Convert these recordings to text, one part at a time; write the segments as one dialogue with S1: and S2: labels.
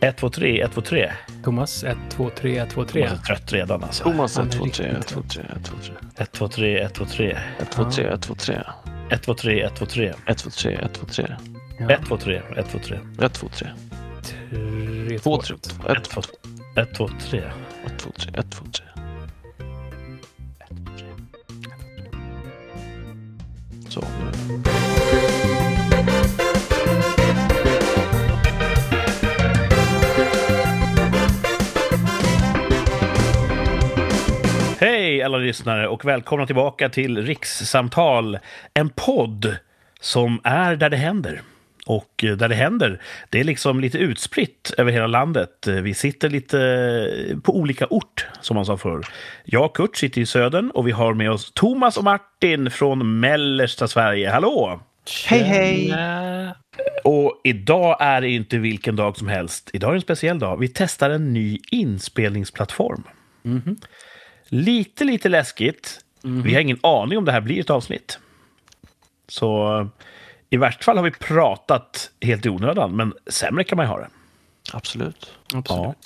S1: 1, 2, 3, 1, 2, 3.
S2: Thomas 123 123.
S1: Thomas är trött redan alltså.
S3: Thomas
S2: Han är
S3: 1, 2, 3,
S2: riktigt
S3: 1, 2, 3, 1, 2, 3.
S1: 1, 2, 3, 1, 2, 3.
S3: 1, 2, 3, 1, 2, 3.
S1: 1, 2, 3, 1, 2, 3.
S3: 1, 2, 3, 1, 2, 3.
S1: 1, 2, 3, 1, 2, 3.
S3: 1,
S2: 3,
S3: 2, 3. 2,
S2: 2,
S3: 3,
S1: 1, 2, 3.
S2: 1.
S3: 2, 1, 2, 1, 2, 3, 1, 2, 3. Så, eh, nu.
S1: Hej alla lyssnare och välkomna tillbaka till Rikssamtal. En podd som är där det händer. Och eh, där det händer, det är liksom lite utspritt över hela landet. Eh, Vi sitter lite eh, på olika ort, som man sa förr. Jag och Kurt sitter i södern och vi har med oss Thomas och Martin från mellersta Sverige. Hallå!
S3: Hej, hej!
S1: Och idag är det inte vilken dag som helst. Idag är det en speciell dag. Vi testar en ny inspelningsplattform. Lite, lite läskigt. Vi har ingen aning om det här blir ett avsnitt. Så eh, i värsta fall har vi pratat helt i onödan, men sämre kan man ju ha det.
S3: Absolut.
S2: Absolut.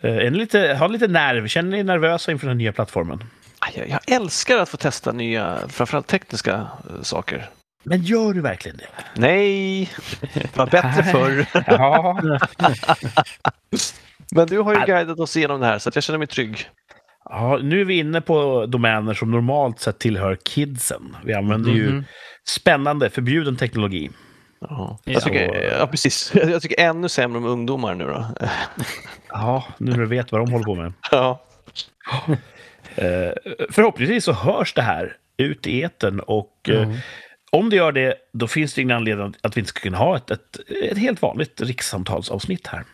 S1: Eh, Är ni lite, har ni lite nerv? Känner ni er nervösa inför den nya plattformen?
S3: Aj, Jag, jag älskar att få testa nya, framförallt tekniska eh, saker.
S1: Men gör du verkligen det?
S3: Nej, det var bättre förr.
S1: Ja.
S3: Men du har ju
S1: Aj.
S3: guidat oss igenom det här så att jag känner mig trygg.
S1: Ja, nu är vi inne på domäner som normalt sett tillhör kidsen. Vi använder ju spännande, förbjuden teknologi.
S3: Ja,
S2: Ja.
S3: jag tycker, ja precis. Jag tycker ännu sämre om ungdomar nu då.
S1: Ja, nu när du vet vad de håller på med.
S3: Ja,
S1: Eh, Förhoppningsvis så hörs det här ut i etern och eh, om det gör det, då finns det ingen anledning att vi inte ska kunna ha ett, ett, ett helt vanligt rikssamtalsavsnitt här.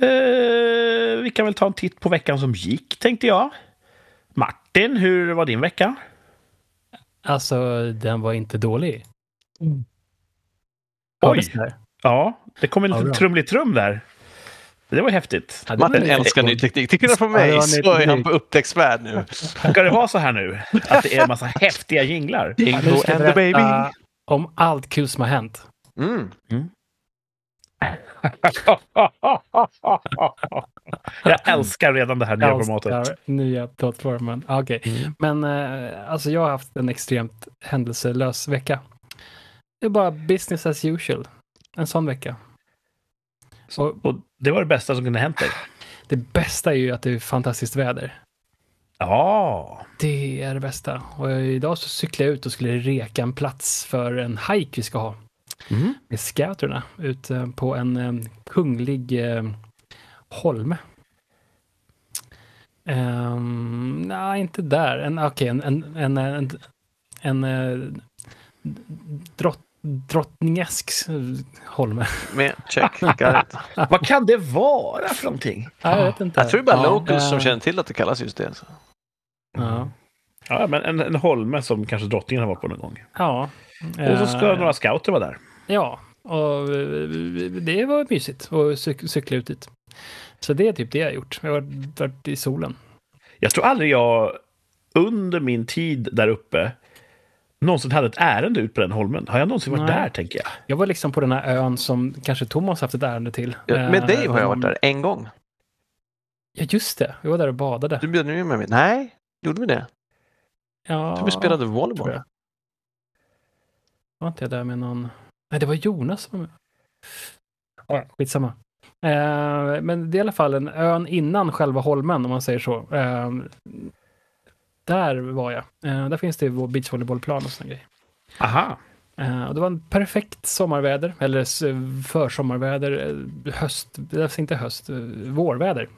S1: Eh, vi kan väl ta en titt på veckan som gick, tänkte jag. Martin, hur var din vecka?
S2: Alltså, den var inte dålig.
S1: Mm. Oj! Ja, det kom en
S2: Ja,
S1: liten
S2: bra.
S1: trummel-trum där. Det var häftigt.
S3: Martin älskar ny teknik. Till skillnad från
S2: Ja, det
S3: mig
S2: var ny
S3: så är han
S2: teknik.
S3: på upptäcktsfärd nu.
S1: Ska det vara så här nu? Att det är en massa häftiga jinglar?
S3: Bingo and the baby.
S2: om allt kul som har hänt.
S3: Mm.
S1: Jag älskar redan det här nya
S2: Jag
S1: formatet.
S2: älskar Nya plattformen. Ah, Okej,
S3: Mm.
S2: men eh, alltså jag har haft en extremt händelselös vecka. Det är bara business as usual. En sån vecka. Och
S1: Och det var det bästa som kunde hänt dig.
S2: det bästa är ju att det är fantastiskt väder.
S1: Ja,
S2: Det är det bästa. Och idag så cyklade jag ut och skulle reka en plats för en hike vi ska ha.
S1: Mm.
S2: Med scouterna ute på en eh, kunglig eh, holme. Ehm, nej, inte där. En, okej, en, en, en, en, en eh, drott, drottningesk holme.
S3: Med check. Got it.
S1: vad kan det vara för någonting?
S2: Nej, jag vet inte.
S3: Jag tror det är bara
S2: Ja.
S3: locals som
S2: Eh,
S3: känner till att det kallas just det.
S2: Ja.
S1: Ja, men en, en holme som kanske drottningen har varit på någon gång.
S2: ja.
S1: Och så ska
S2: Eh,
S1: några scouter vara där.
S2: Ja, och eh, det var mysigt att cyk- cykla ut dit. Så det är typ det jag har gjort. Jag har varit- varit i solen.
S1: Jag tror aldrig jag under min tid där uppe någonsin hade ett ärende ut på den holmen. Har jag någonsin varit
S2: Nej.
S1: där, tänker jag?
S2: Jag var liksom på den här ön som kanske Thomas haft ett ärende till.
S3: Ja, Med
S2: Eh,
S3: dig har jag
S2: om-
S3: varit där en gång.
S2: Ja, just det. Jag var där och badade.
S3: Du bjöd ju med mig. Nej, gjorde vi det?
S2: Ja,
S3: Jag tror vi spelade
S2: tror
S3: volleyboll.
S2: jag. Var inte jag där med någon? Nej, det var Jonas som... Ja, skitsamma. Eh, men det är i alla fall en ön innan själva holmen, om man säger så. Eh, där var jag. Eh, där finns det vår beachvolleybollplan och såna grejer.
S1: Aha.
S2: Eh, Och det var en perfekt sommarväder, eller s- försommarväder, eh, höst, alltså inte höst, eh, vårväder.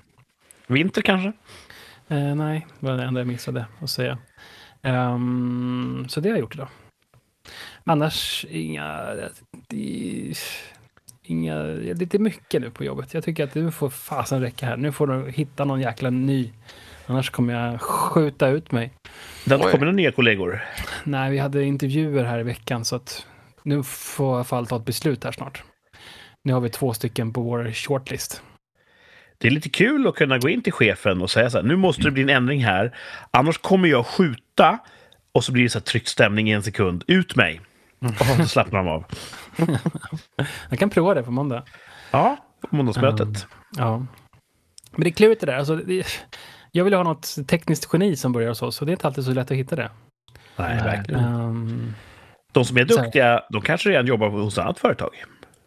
S1: Vinter kanske?
S2: Eh, nej, det var det enda jag missade att säga. Ehm, så det har jag gjort idag. Annars inga... Det, inga ja, det är mycket nu på jobbet. Jag tycker att nu får fasen räcka här. Nu får du hitta någon jäkla ny. Annars kommer jag skjuta ut mig.
S1: Det har inte
S3: Oj.
S1: kommit några nya kollegor.
S2: Nej, vi hade intervjuer här i veckan så att nu får jag i alla fall ta ett beslut här snart. Nu har vi två stycken på vår shortlist.
S1: Det är lite kul att kunna gå in till chefen och säga så här, nu måste det bli en ändring här, annars kommer jag skjuta. Och så blir det så här tryckt stämning i en sekund, ut mig. Och så slappnar de av.
S2: Jag kan prova det på måndag.
S1: Ja, på
S2: Mm.
S1: månadsmötet.
S2: Ja. Men det är klurigt det där. Alltså, det, jag vill ha något tekniskt geni som börjar hos oss och det är inte alltid så lätt att hitta det.
S1: Nej, verkligen.
S2: Ehm,
S1: De som är
S2: Så här.
S1: duktiga, de kanske redan jobbar hos annat företag.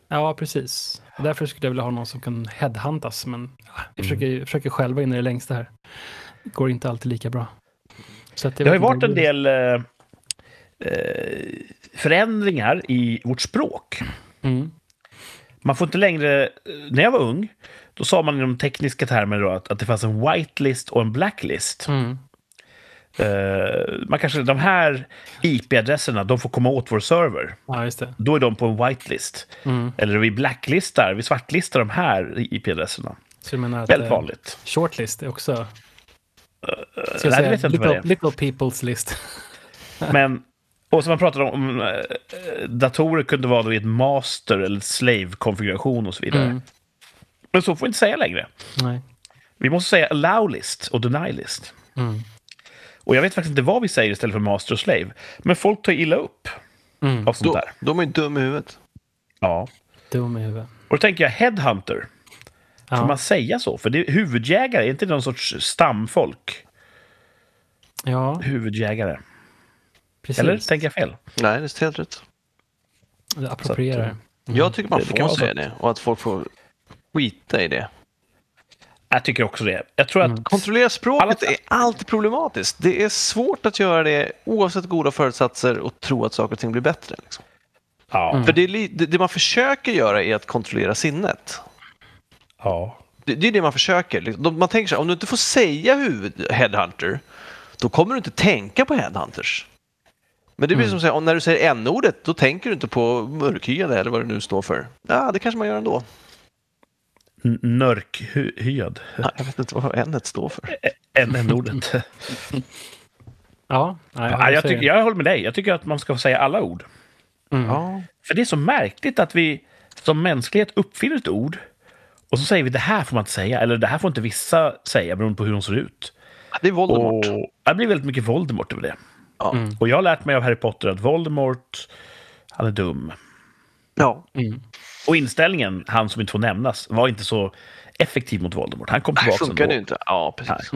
S2: ja, precis. Och därför skulle jag vilja ha någon som kan headhuntas, men ja, vi försöker, försöker själva in i det längsta här. Det går inte alltid lika bra. Så att jag
S1: Det har ju
S2: vet inte
S1: varit
S2: vad
S1: en
S2: det blir.
S1: del eh, eh, förändringar i vårt språk.
S2: Mm.
S1: Man får inte längre... eh, När jag var ung, då sa man i de tekniska termerna då att, att det fanns en whitelist och en blacklist.
S2: Mm.
S1: Eh, man kanske, de här IP-adresserna, de får komma åt vår server.
S2: Ja, just det.
S1: Då är de på en whitelist.
S2: Mm.
S1: Eller vi blacklistar, vi svartlistar de här IP-adresserna.
S2: Så du menar att
S1: Väldigt
S2: eh,
S1: vanligt. Eh,
S2: shortlist är också... Ska
S1: nej,
S2: jag
S1: det
S2: säga,
S1: vet jag inte vad det
S2: little,
S1: är.
S2: little people's list.
S1: Men, och som man pratade om, om eh, datorer kunde vara då i ett master eller ett slave-konfiguration och så vidare.
S2: Mm.
S1: Men så får vi inte säga längre.
S2: Nej.
S1: Vi måste säga allow list och deny list.
S2: Mm.
S1: Och jag vet faktiskt inte vad vi säger istället för master och slave. Men folk tar illa upp
S2: Mm.
S1: av sånt
S3: Då,
S1: där.
S3: de är ju dum i huvudet.
S1: Ja.
S2: Dum i huvudet.
S1: Och då tänker jag headhunter. Får
S2: Ja.
S1: man säga så? För det, huvudjägare, är inte det någon sorts stamfolk?
S2: ja,
S1: Huvudjägare.
S2: precis.
S1: Eller tänker jag fel?
S3: Nej, det är helt rätt.
S2: Approprierar.
S1: Så eh,
S3: Jag tycker man
S1: Det- det
S3: får
S1: kan vara
S3: säga
S1: sant.
S3: det och att folk får skita i det.
S1: Jag tycker också det. Jag tror
S2: Mm.
S1: att...
S3: Kontrollera språket
S1: Alla-
S3: är alltid problematiskt. Det är svårt att göra det oavsett goda förutsatser och tro att saker och ting blir bättre. Liksom.
S1: Ja.
S2: Mm.
S3: För det, är li- det, det man försöker göra är att kontrollera sinnet.
S1: ja.
S3: Det, det är det man försöker. liksom. De- Man tänker så här, om du inte får säga huvud headhunter, då kommer du inte tänka på headhunters. Men det blir som att säga, om när du säger n-ordet, då tänker du inte på mörkhyade eller vad det nu står för. Ja, det kanske man gör ändå.
S1: N- Nörkhyad.
S3: Ja, Jag vet inte vad n står för.
S1: Än än ordet.
S2: Ja, nej,
S1: ja, Mm. jag,
S2: säger
S1: tycker, jag håller med dig. Jag tycker att man ska få säga alla ord.
S2: Mm.
S3: Ja.
S1: För det är så märkligt att vi som mänsklighet uppfinner ett ord och så säger vi det här får man inte säga, eller det här får inte vissa säga beroende på hur de ser ut.
S3: Det är Voldemort.
S1: Och Mm. det blir väldigt mycket Voldemort över det.
S3: Ja.
S1: Och jag har lärt mig av Harry Potter att Voldemort, han är dum.
S3: Ja.
S1: Och inställningen, han som inte får nämnas, var inte så effektiv mot Voldemort. Han kom
S3: Det
S1: tillbaka
S3: funkar
S1: ändå.
S3: ju inte. Ja, precis.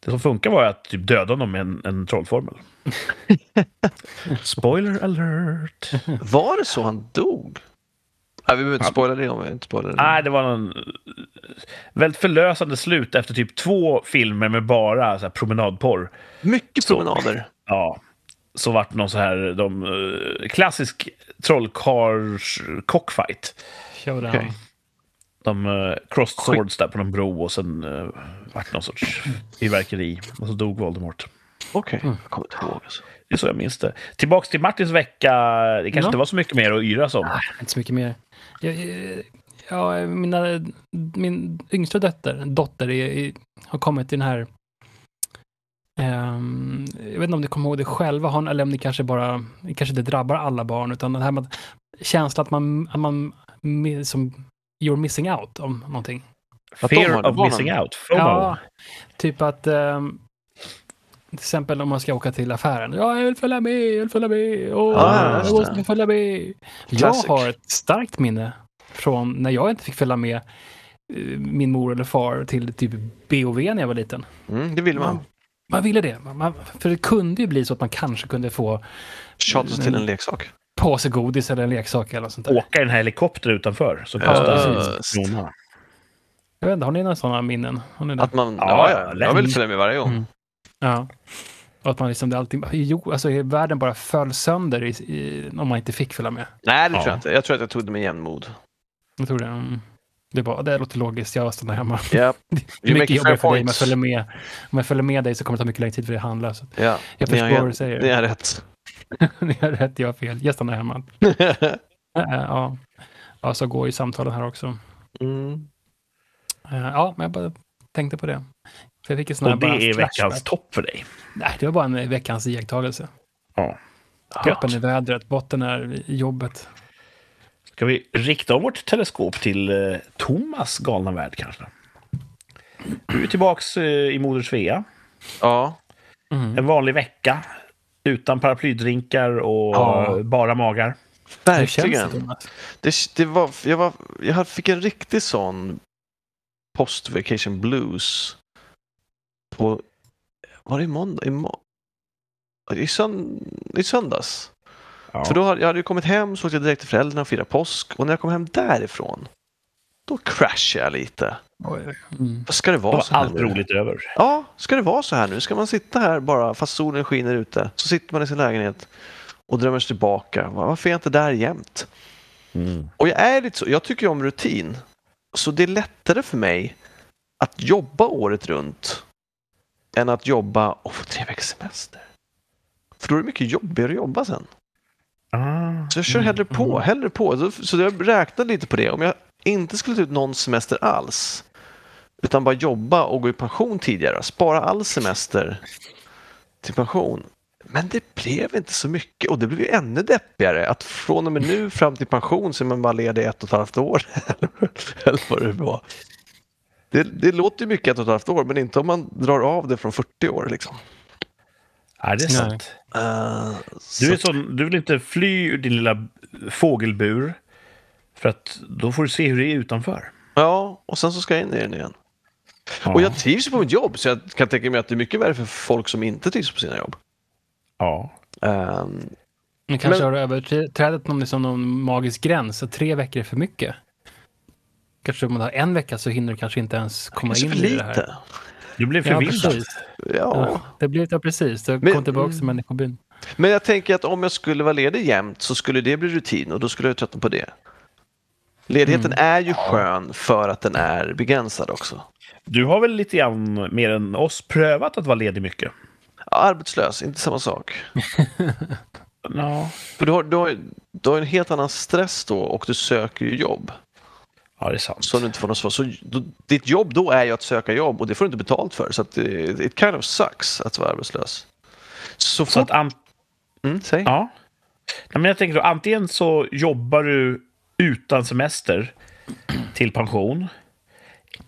S1: Det som funkar var att typ döda honom med en, en trollformel. Spoiler alert!
S3: Var det så han dog? Nej, vi behöver inte spoila det om vi inte spoilar det.
S1: Nej, det var någon eh, väldigt förlösande slut efter typ två filmer med bara så här promenadporr.
S3: Mycket promenader.
S1: Ja, så vart det någon så här de, eh, klassisk trollkarls cockfight.
S2: Showdown.
S3: Okej.
S1: De eh, crossed swords där på någon bro och sen uh, vart det någon sorts fyrverkeri och så dog Voldemort.
S3: Okej,
S2: Mm.
S3: jag kommer inte ihåg. Alltså.
S1: Det är så jag minns det. Tillbaks till Martins vecka. Det kanske
S2: Ja.
S1: inte var så mycket mer att yras om.
S2: Ah, inte så mycket mer. Jag, eh, ja, mina, min yngsta dotter, dotter är, är, har kommit till den här... ehm, jag vet inte om ni kommer ihåg det själva, har- eller om det kanske bara... Det kanske inte drabbar alla barn, utan den här med, att- känslan att man... Att man mi- som, you're missing out om någonting.
S3: Att de har-
S1: Fear
S3: det
S1: of
S3: var
S1: missing
S3: någon-
S1: out. FOMO.
S2: Ja, typ att ehm, till exempel om man ska åka till affären. Ja, jag vill följa med, jag vill följa med. Åh,
S3: Ah,
S2: jag
S3: just
S2: måste
S3: det.
S2: följa med.
S3: Classic.
S2: Jag har ett starkt minne från när jag inte fick följa med eh, min mor eller far till typ BOV när jag var liten.
S3: Mm, det vill man.
S2: Man ville det. Man- Man, för det kunde ju bli så att man kanske kunde få
S3: Tjata sig till en leksak.
S2: påse godis eller en leksak eller något sånt där.
S1: Åka i den här helikoptern utanför. Så kostar
S3: precis.
S1: det kronorna.
S2: Jag vet inte, har ni några sådana minnen? Har ni det?
S3: Att man,
S1: Ja,
S3: ja,
S1: ja,
S3: ja, jag
S1: lätt.
S3: vill följa med varje gång.
S2: Mm. Ja. Och att man liksom, det alltid, jo, alltså världen bara föll sönder i, i, om man inte fick följa med.
S3: Nej, det
S1: Ja.
S3: tror jag inte. Jag tror att jag tog det med jämnmod.
S2: Jag tror det. Mm. Det, bara, det låter logiskt, jag stannar hemma.
S3: Yep.
S2: Det är
S3: You make
S2: mycket
S3: a fair
S2: jobbigare för dig om jag
S3: point.
S2: följer med. Om jag följer med dig så kommer det ta mycket längre tid för dig att handla. Så att
S3: Ja,
S2: jag
S3: ni
S2: förstår
S3: har
S2: vad du
S3: helt-
S2: säger.
S3: det är rätt.
S2: Ni har rätt, jag har fel. Jag stannar hemma. Äh, Ja, ja så går ju samtalen här också.
S3: mm.
S2: Äh, Ja, men jag bara tänkte på det. För jag fick en sån här
S1: Och det
S2: bara
S1: är
S2: flashback.
S1: veckans topp för dig.
S2: Nej, det var bara en veckans iakttagelse.
S1: Ja.
S2: Toppen i vädret, botten är i jobbet.
S1: Ska vi rikta om vårt teleskop till eh, Thomas galna värld kanske? Du är tillbaks eh, i Moder Svea.
S3: Ja, Mm.
S1: En vanlig vecka. Utan paraplydrinkar och
S2: Ja.
S1: eh, bara magar.
S2: Hur känns det,
S3: Verkligen.
S2: Jonas?
S3: Det, det var, jag, var, jag fick en riktig sån post-vacation blues på... Var det i måndag? I, må, i, sönd, I söndags.
S1: Ja.
S3: För då hade, jag hade ju kommit hem så åkte jag direkt till föräldrarna och firade påsk. Och när jag kom hem därifrån, då crashade jag lite.
S2: Mm.
S3: Vad ska det vara
S1: var
S3: så här
S1: allt
S3: nu?
S1: roligt över.
S3: Ja, ska det vara så här nu? Ska man sitta här bara fast solen skiner ute? Så sitter man i sin lägenhet och drömmer sig tillbaka. Va- Varför är jag inte där jämt?
S2: Mm.
S3: Och jag är lite så, jag tycker ju om rutin. Så det är lättare för mig att jobba året runt än att jobba och få tre veckors semester. För då är det mycket jobbigare att jobba sen.
S1: Ah.
S3: Så jag kör hellre på, hellre på. Så- Så jag räknade lite på det. Om jag inte skulle ta ut någon semester alls, utan bara jobba och gå i pension tidigare, spara all semester till pension. Men det blev inte så mycket och det blev ju ännu deppigare att från och med nu fram till pension så är man bara ledig ett och ett halvt år. Eller vad det var. Det, det låter ju mycket ett och ett halvt år, men inte om man drar av det från 40 år. Liksom.
S1: Ja, det är
S2: Nej.
S1: sant.
S3: Eh,
S1: Du, är
S3: så,
S1: sån, du vill inte fly ur din lilla fågelbur. För att då får du se hur det är utanför.
S3: ja, och sen så ska jag in i den igen. Och jag trivs ju på mitt jobb, så jag kan tänka mig att det är mycket värre för folk som inte trivs på sina jobb.
S1: Ja.
S3: Ehm,
S2: Men kanske
S3: Men-
S2: har du överträdat någon, liksom någon magisk gräns, att tre veckor är för mycket. Kanske om man har en vecka så hinner du kanske inte ens komma
S3: kanske
S2: in
S3: för
S2: i det här.
S3: lite.
S1: Du blev
S2: Ja,
S1: förvildad.
S2: precis.
S3: Ja.
S2: Ja, det blir ja, precis. Du
S3: Men-
S2: kom tillbaka till människobyn.
S3: Men jag tänker att om jag skulle vara ledig jämt så skulle det bli rutin och då skulle jag tröttna på det. Ledigheten
S2: Mm.
S3: är ju skön för att den är begränsad också.
S1: du har väl lite grann mer än oss prövat att vara ledig mycket?
S3: Arbetslös, inte samma sak.
S1: Ja.
S3: För du har, du, har, du har en helt annan stress då och du söker ju jobb
S1: Ja, det är sant.
S3: som du inte får något svar. Så då, ditt jobb då är ju att söka jobb och det får du inte betalt för. Så att det, it kind of sucks att vara arbetslös. Så,
S1: Så
S3: fort...
S1: att an...
S3: Mm, säg.
S1: ja. Nej, men jag tänker då, antingen så jobbar du utan semester till pension.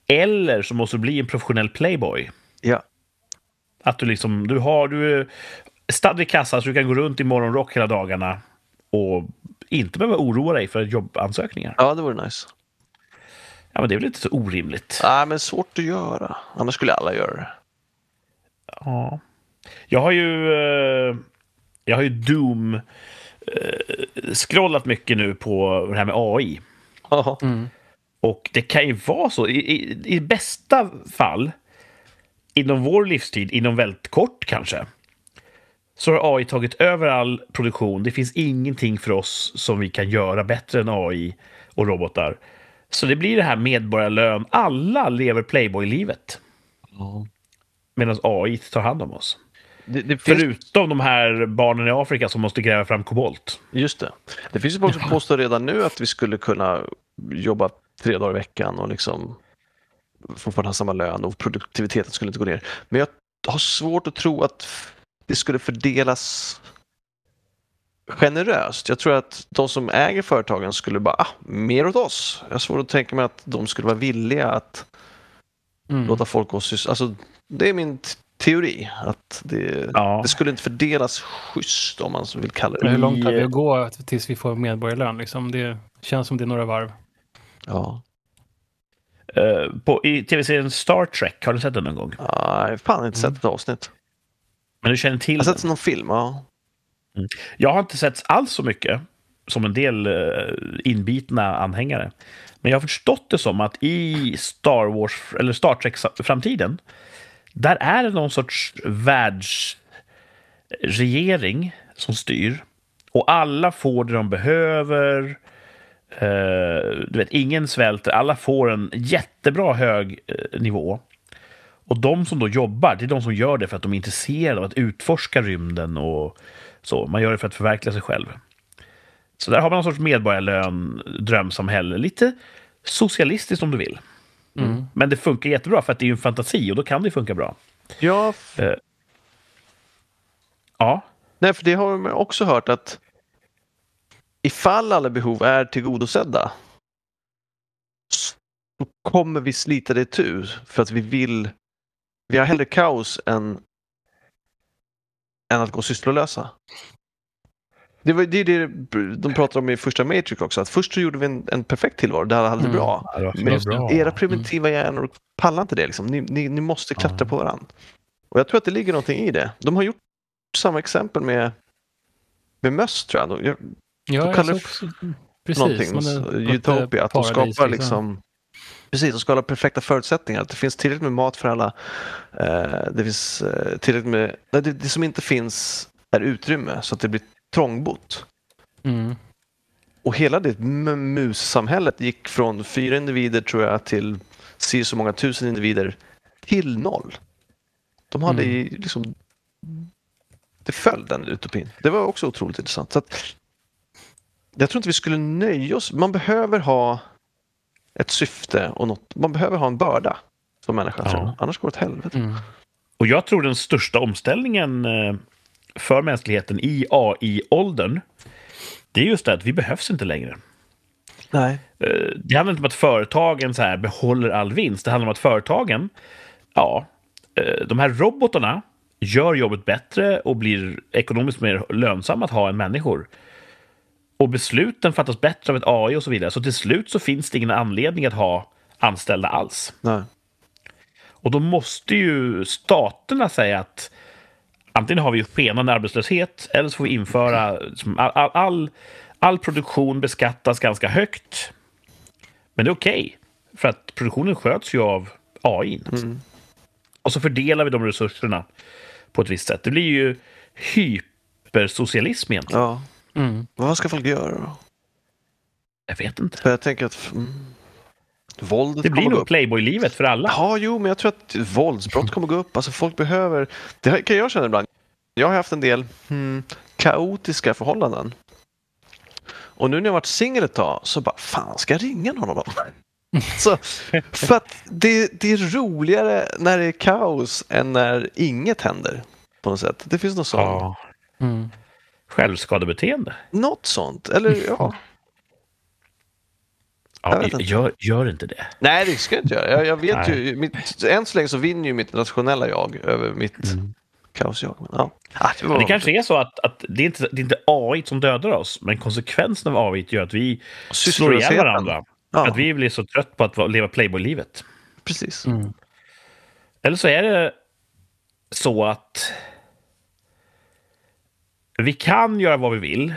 S1: Eller så måste du bli en professionell playboy.
S3: Ja.
S1: Att du liksom, du har, du är stadd vid kassan så du kan gå runt i morgonrock hela dagarna och inte behöva oroa dig för jobbansökningar.
S3: ja, det vore nice.
S1: Ja, men det är väl inte så orimligt?
S3: Nej, men svårt att göra. Annars skulle alla göra det.
S1: Ja. Jag har ju... eh, Jag har ju Doom... eh, Scrollat mycket nu på det här med AI.
S3: Ja,
S1: Mm. Och det kan ju vara så. I, i, i bästa fall, inom vår livstid, inom väldigt kort kanske, så har AI tagit över all produktion. Det finns ingenting för oss som vi kan göra bättre än AI och robotar. Så det blir det här medborgarlön. Alla lever Playboy-livet. Medan AI tar hand om oss.
S3: Det, det finns,
S1: Förutom de här barnen i Afrika som måste gräva fram kobolt.
S3: just det. Det finns ju folk som påstår redan nu att vi skulle kunna jobba tre dagar i veckan och liksom fortfarande ha samma lön och produktiviteten skulle inte gå ner. Men jag har svårt att tro att det skulle fördelas generöst. Jag tror att de som äger företagen skulle bara, ah, mer åt oss. Jag har svårt att tänka mig att de skulle vara villiga att
S2: Mm.
S3: låta folk gå och syssla. Alltså, det är min t- teori. Att det,
S1: Ja.
S3: det skulle inte fördelas schysst om man så vill kalla
S2: Men
S3: det.
S2: Hur långt har vi
S1: i-
S2: att gå tills vi får medborgarlön? Liksom? Det känns som det är några varv.
S3: Ja.
S1: Eh, på, I tv-serien Star Trek, har du sett den någon gång?
S3: Nej, fan jag har inte sett ett avsnitt.
S1: Men du känner till
S3: Jag har
S1: den?
S3: sett någon film, ja.
S1: Jag har inte sett alls så mycket som en del eh, inbitna anhängare. Men jag har förstått det som att i Star Wars eller Star Trek-framtiden, där är det någon sorts världsregering som styr. Och alla får det de behöver. Eh, du vet, ingen svälter. Alla får en jättebra hög eh, nivå. Och de som då jobbar, det är de som gör det för att de är intresserade av att utforska rymden och så. Man gör det för att förverkliga sig själv. Så där har man någon sorts medborgarlön, drömsamhälle, lite socialistiskt om du vill.
S3: Mm.
S2: Mm.
S1: Men det funkar jättebra för att det är ju en fantasi och då kan det funka bra.
S3: Ja, f-
S1: Ja,
S3: nej, för det har man också hört att ifall alla behov är tillgodosedda s- då kommer vi slita det itu för att vi vill... Vi har hellre kaos än, än att gå sysslolösa. Det, var, det är det de pratar om i första Matrix också. Att först så gjorde vi en, en perfekt tillvaro där alla hade det bra.
S1: Ja, det var för
S3: Men
S2: just
S1: bra.
S3: Era primitiva hjärnor pallar inte det. Liksom. Ni, ni, ni måste klättra på varandra. Och jag tror att det ligger någonting i det. De har gjort samma exempel med, med möss tror jag. De, gör
S2: Ja,
S3: kallar
S2: jag
S3: det
S2: såg också- precis.
S3: någonting,
S2: man är på ett, eh,
S3: Utopia, att de
S2: paradis,
S3: skapar liksom Precis, de skapar perfekta förutsättningar. Att det finns tillräckligt med mat för alla. Eh, Det finns eh, tillräckligt med... nej, Det, det som inte finns är utrymme så att det blir trångbott.
S2: Mm.
S3: Och hela det m- mussamhället gick från fyra individer tror jag till si så många tusen individer till noll. De hade
S2: Mm.
S3: i- liksom... Det föll den utopin. Det var också otroligt intressant. Så att, jag tror inte vi skulle nöja oss. Man behöver ha ett syfte och något. Man behöver ha en börda som människa.
S1: Ja.
S3: tror jag. Annars går det åt helvete.
S2: Mm.
S1: Och jag tror den största omställningen eh, för mänskligheten i AI-åldern, det är just det att vi behövs inte längre.
S3: Nej.
S1: Eh, Det handlar inte om att företagen så här behåller all vinst. Det handlar om att företagen, ja, eh, de här robotarna gör jobbet bättre och blir ekonomiskt mer lönsamma att ha än människor. Och besluten fattas bättre av ett AI och så vidare. Så till slut så finns det ingen anledning att ha anställda alls.
S3: Nej.
S1: Och då måste ju staterna säga att antingen har vi ju skenande arbetslöshet eller så får vi införa som all, all, all, all produktion beskattas ganska högt. Men det är okej, för att produktionen sköts ju av AI.
S3: Mm.
S1: Och så fördelar vi de resurserna på ett visst sätt. Det blir ju hypersocialism egentligen.
S3: Ja.
S2: Mm.
S3: Men vad ska folk göra då?
S1: Jag vet inte.
S3: För jag tänker att mm, våldet
S1: Det blir
S3: kommer gå
S1: nog Playboy-livet för alla.
S3: Ja, jo, men jag tror att våldsbrott kommer gå upp. Alltså folk behöver... Det kan jag känna ibland. Jag har haft en del hmm, kaotiska förhållanden. Och nu när jag varit singel ett tag så bara, fan ska jag ringa någon av dem? Så, för att det, det är roligare när det är kaos än när inget händer. På något sätt. Det finns något sånt.
S1: Ja.
S2: Mm.
S1: Självskadebeteende.
S3: Något sånt. Eller ja. Jag
S1: Ja,
S3: vet inte.
S1: gör, gör inte det.
S3: Nej, det ska jag inte göra. Jag, jag vet
S1: Nej.
S3: ju, mitt, än så länge så vinner ju mitt nationella jag över mitt kaos-jag. Men, ja. Ah, det, var
S1: Mm. Det kanske är så att, att det, är inte, det är inte AI som dödar oss, men konsekvensen av AI gör att vi slår ihjäl
S3: Sysslolösheten.
S1: varandra.
S3: Ja.
S1: Att vi blir så trött på att va- leva Playboy-livet.
S3: Precis.
S1: Eller så är det så att vi kan göra vad vi vill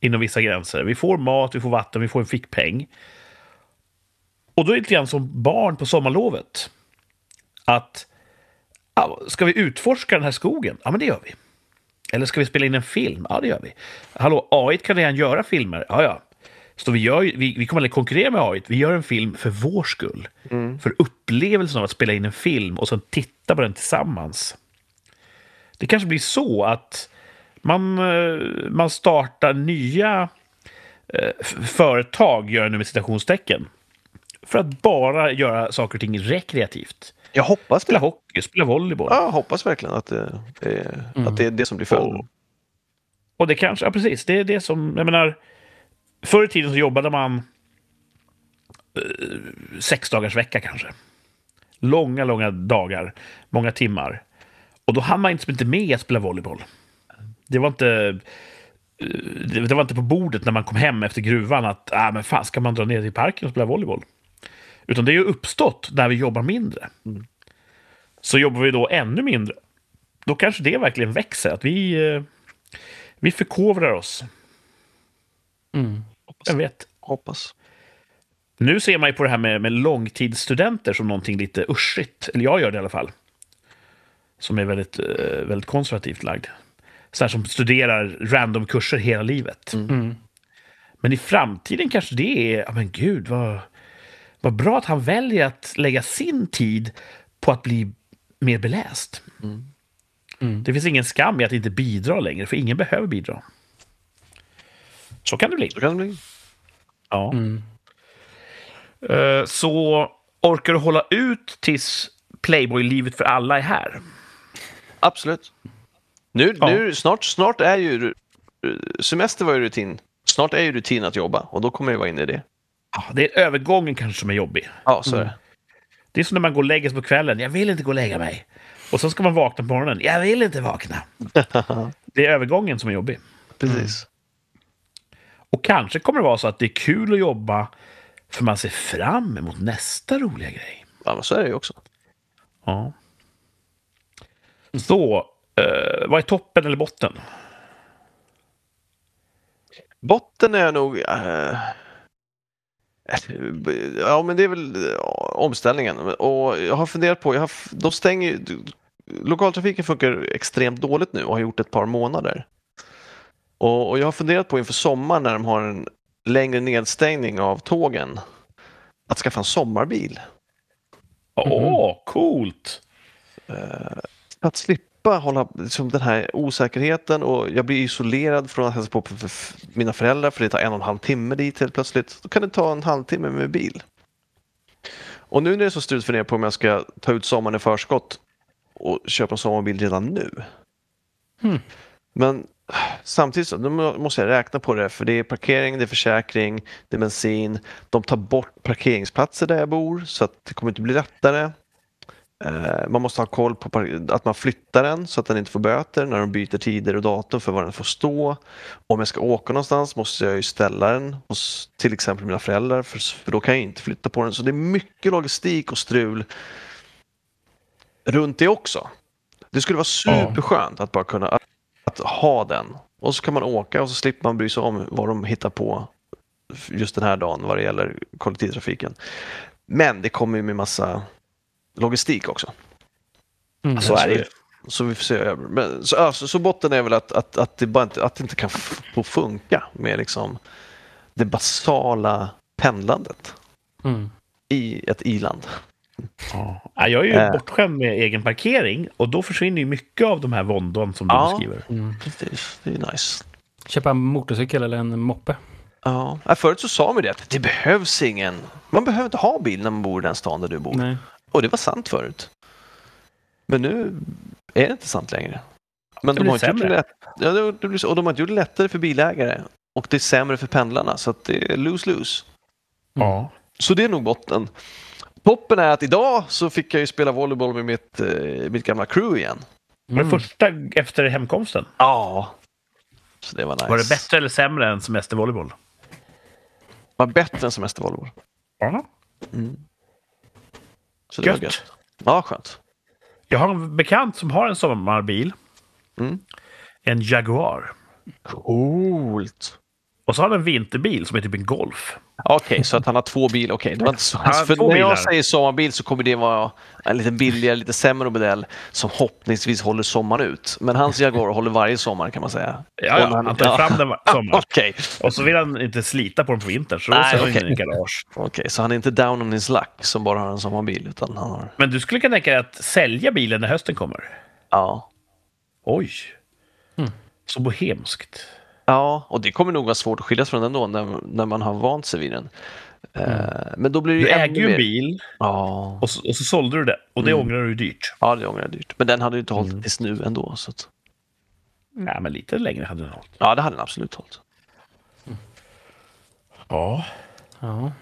S1: inom vissa gränser. Vi får mat, vi får vatten, vi får en fickpeng. Och då är det lite grann som barn på sommarlovet. Att ja, ska vi utforska den här skogen? Ja, men det gör vi. Eller ska vi spela in en film? Ja, det gör vi. Hallå, AI kan redan göra filmer. Ja, ja. Så vi, gör, ju- vi, vi kommer aldrig konkurrera med AI. Vi gör en film för vår skull. För upplevelsen av att spela in en film och sen titta på den tillsammans. Det kanske blir så att man, eh, man startar nya eh, f- företag, gör jag nu med citationstecken. För att bara göra saker och ting rekreativt.
S3: Jag hoppas
S1: Spela
S3: det.
S1: hockey, spela volleyboll.
S3: Ja, jag hoppas verkligen att det, är, att det är det som blir följden.
S1: Och, och det kanske, ja precis, det är det som, jag menar, förr i tiden så jobbade man eh, sex dagars vecka kanske. Långa, långa dagar, många timmar. Och då hann man liksom inte med att spela volleyboll. Det var inte, eh, det, det var inte på bordet när man kom hem efter gruvan att, ah, men fan ska man dra ner till parken och spela volleyboll? Utan det är ju uppstått när vi jobbar mindre. Så jobbar vi då ännu mindre då kanske det verkligen växer. Att vi, eh, vi förkovrar oss.
S2: Mm.
S1: Jag vet.
S3: Hoppas.
S1: Nu ser man ju på det här med, med långtidsstudenter som någonting lite uschigt. Eller jag gör det i alla fall. Som är väldigt, eh, väldigt konservativt lagd. Så här som studerar random kurser hela livet.
S2: Mm.
S1: Men i framtiden kanske det är, ja men gud vad, vad bra att han väljer att lägga sin tid på att bli mer beläst.
S2: Mm.
S1: Det finns ingen skam i att inte bidra längre, för ingen behöver bidra. Så kan det bli.
S3: Så kan det bli.
S1: Ja. Eh, Så orkar du hålla ut tills Playboy-livet för alla är här?
S3: Absolut. Nu,
S1: Ja.
S3: nu, snart, snart är ju... Semester var ju rutin. Snart är ju rutin att jobba och då kommer jag vara inne i det.
S1: Ja, Det är övergången kanske som är jobbig.
S3: Ja, så är det.
S1: Det är som när man går och lägger sig på kvällen. Jag vill inte gå och lägga mig. Och sen ska man vakna på morgonen. Jag vill inte vakna. Det är övergången som är jobbig.
S3: Precis.
S1: Och kanske kommer det vara så att det är kul att jobba för man ser fram emot nästa roliga grej.
S3: Ja, men så är det ju också.
S1: Ja. Så, eh, vad är toppen eller botten?
S3: Botten är nog... eh, ja, men det är väl eh, omställningen. Och jag har funderat på... Jag har, f- de stänger ju... Lokaltrafiken funkar extremt dåligt nu och har gjort ett par månader. Och, och jag har funderat på inför sommaren när de har en längre nedstängning av tågen att skaffa en sommarbil.
S1: Åh, Mhm. coolt!
S3: För att slippa hålla liksom, den här osäkerheten och jag blir isolerad från att hälsa på för, för, för mina föräldrar för det tar en och en halv timme dit helt plötsligt. Då kan det ta en halvtimme med bil. Och nu när det är så struligt för på om jag ska ta ut sommaren i förskott och köpa en sommarbil redan nu. Men samtidigt så då må- måste jag räkna på det för det är parkering, det är försäkring, det är bensin. De tar bort parkeringsplatser där jag bor så att det kommer inte bli lättare. Eh, Man måste ha koll på par- att man flyttar den så att den inte får böter när de byter tider och datum för var den får stå. Om jag ska åka någonstans måste jag ju ställa den hos till exempel mina föräldrar för, för då kan jag inte flytta på den. Så det är mycket logistik och strul runt det också. Det skulle vara superskönt att bara kunna att, att ha den och så kan man åka och så slipper man bry sig om vad de hittar på just den här dagen vad det gäller kollektivtrafiken. Men det kommer ju med massa logistik också.
S2: Mm.
S1: Så är det ju.
S3: Så vi får se. över. Men, så, alltså, så botten är väl att, att, att, det bara inte, att det inte kan f- få funka med liksom det basala pendlandet
S2: Mm.
S3: i ett iland.
S1: Ja. Ja, Jag är ju
S3: Eh.
S1: bortskämd med egen parkering och då försvinner ju mycket av de här våndorna som
S3: Ja.
S1: du beskriver.
S3: Det, är- det är nice.
S2: Mm. Köpa en motorcykel eller en moppe.
S3: Ja. Ja, Förut så sa man det att det behövs ingen... Man behöver inte ha bil när man bor i den stan där du bor.
S2: Nej.
S3: Och det var sant förut. Men nu är det inte sant längre. Men
S1: Det
S3: de
S1: blir
S3: har inte gjort det
S1: sämre.
S3: lätt... ja, det, det blir så. Och de har inte gjort det lättare för bilägare. Och det är sämre för pendlarna, så att det är lose-lose.
S1: Ja.
S3: Så det är nog botten. Toppen är att idag så fick jag ju spela volleyboll med mitt, eh, mitt gamla crew igen.
S1: Var det första efter hemkomsten?
S3: Ja. Så det var nice.
S1: Var det bättre eller sämre än semestervolleyboll?
S3: Var bättre än semestervolleyboll.
S1: Ja.
S3: Så det
S1: Gött.
S3: var gött. Ja, skönt.
S1: Jag har en bekant som har en sommarbil.
S3: Mm.
S1: En Jaguar.
S3: Coolt.
S1: Och så har han en vinterbil som är typ en Golf.
S3: Okej, så att han har två bilar. Okej, det var inte så.
S1: Han har
S3: för
S1: två
S3: när jag
S1: bilar.
S3: säger sommarbil så kommer det vara en lite billigare, lite sämre modell som hoppningsvis håller sommaren ut. Men hans Jaguar håller varje sommar kan man säga.
S1: Ja,
S3: Och när
S1: ja. Han tar fram den var- sommar.
S3: Okej,
S1: Och så vill han inte slita på den på vintern, så då
S3: Nej,
S1: sätter han in
S3: okej.
S1: den i garage.
S3: Okej, så han är inte down on his luck som bara har en sommarbil utan han har...
S1: Men du skulle kunna tänka dig att sälja bilen när hösten kommer?
S3: Ja.
S1: Oj! Mm. Så bohemskt.
S3: Ja, och det kommer nog vara svårt att skiljas från den då när, när man har vant sig vid den. Eh, men då blir det
S1: Mm. Du
S3: ju ännu
S1: ägde ju
S3: mer-
S1: en bil
S3: Ja.
S1: och så, och så sålde du den. Och
S3: Mm.
S1: det ångrar du ju dyrt.
S3: ja, det ångrar jag dyrt. Men den hade ju inte hållit
S1: Mm.
S3: tills nu ändå. Så att... Mm.
S1: Nej, men lite längre hade den hållit.
S3: Ja, det hade den absolut hållit.
S1: Ja.
S2: Ja.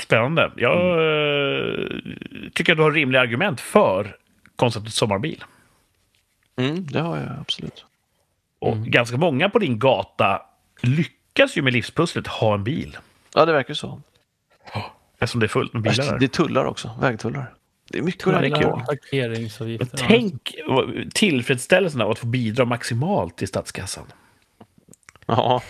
S1: Spännande. Jag
S3: Mm.
S1: eh, tycker att du har rimliga argument för konceptet sommarbil.
S3: Mm, det har jag absolut.
S1: Och
S3: Mm.
S1: ganska många på din gata lyckas ju med livspusslet ha en bil.
S3: Ja, det verkar ju så.
S1: Eftersom det är fullt med bilar där.
S3: Alltså, Det är tullar också, vägtullar. Det är mycket att räkna på.
S2: Parkeringsavgifter. ja.
S1: Tänk vad- tillfredsställelsen av att få bidra maximalt till statskassan.
S3: Ja.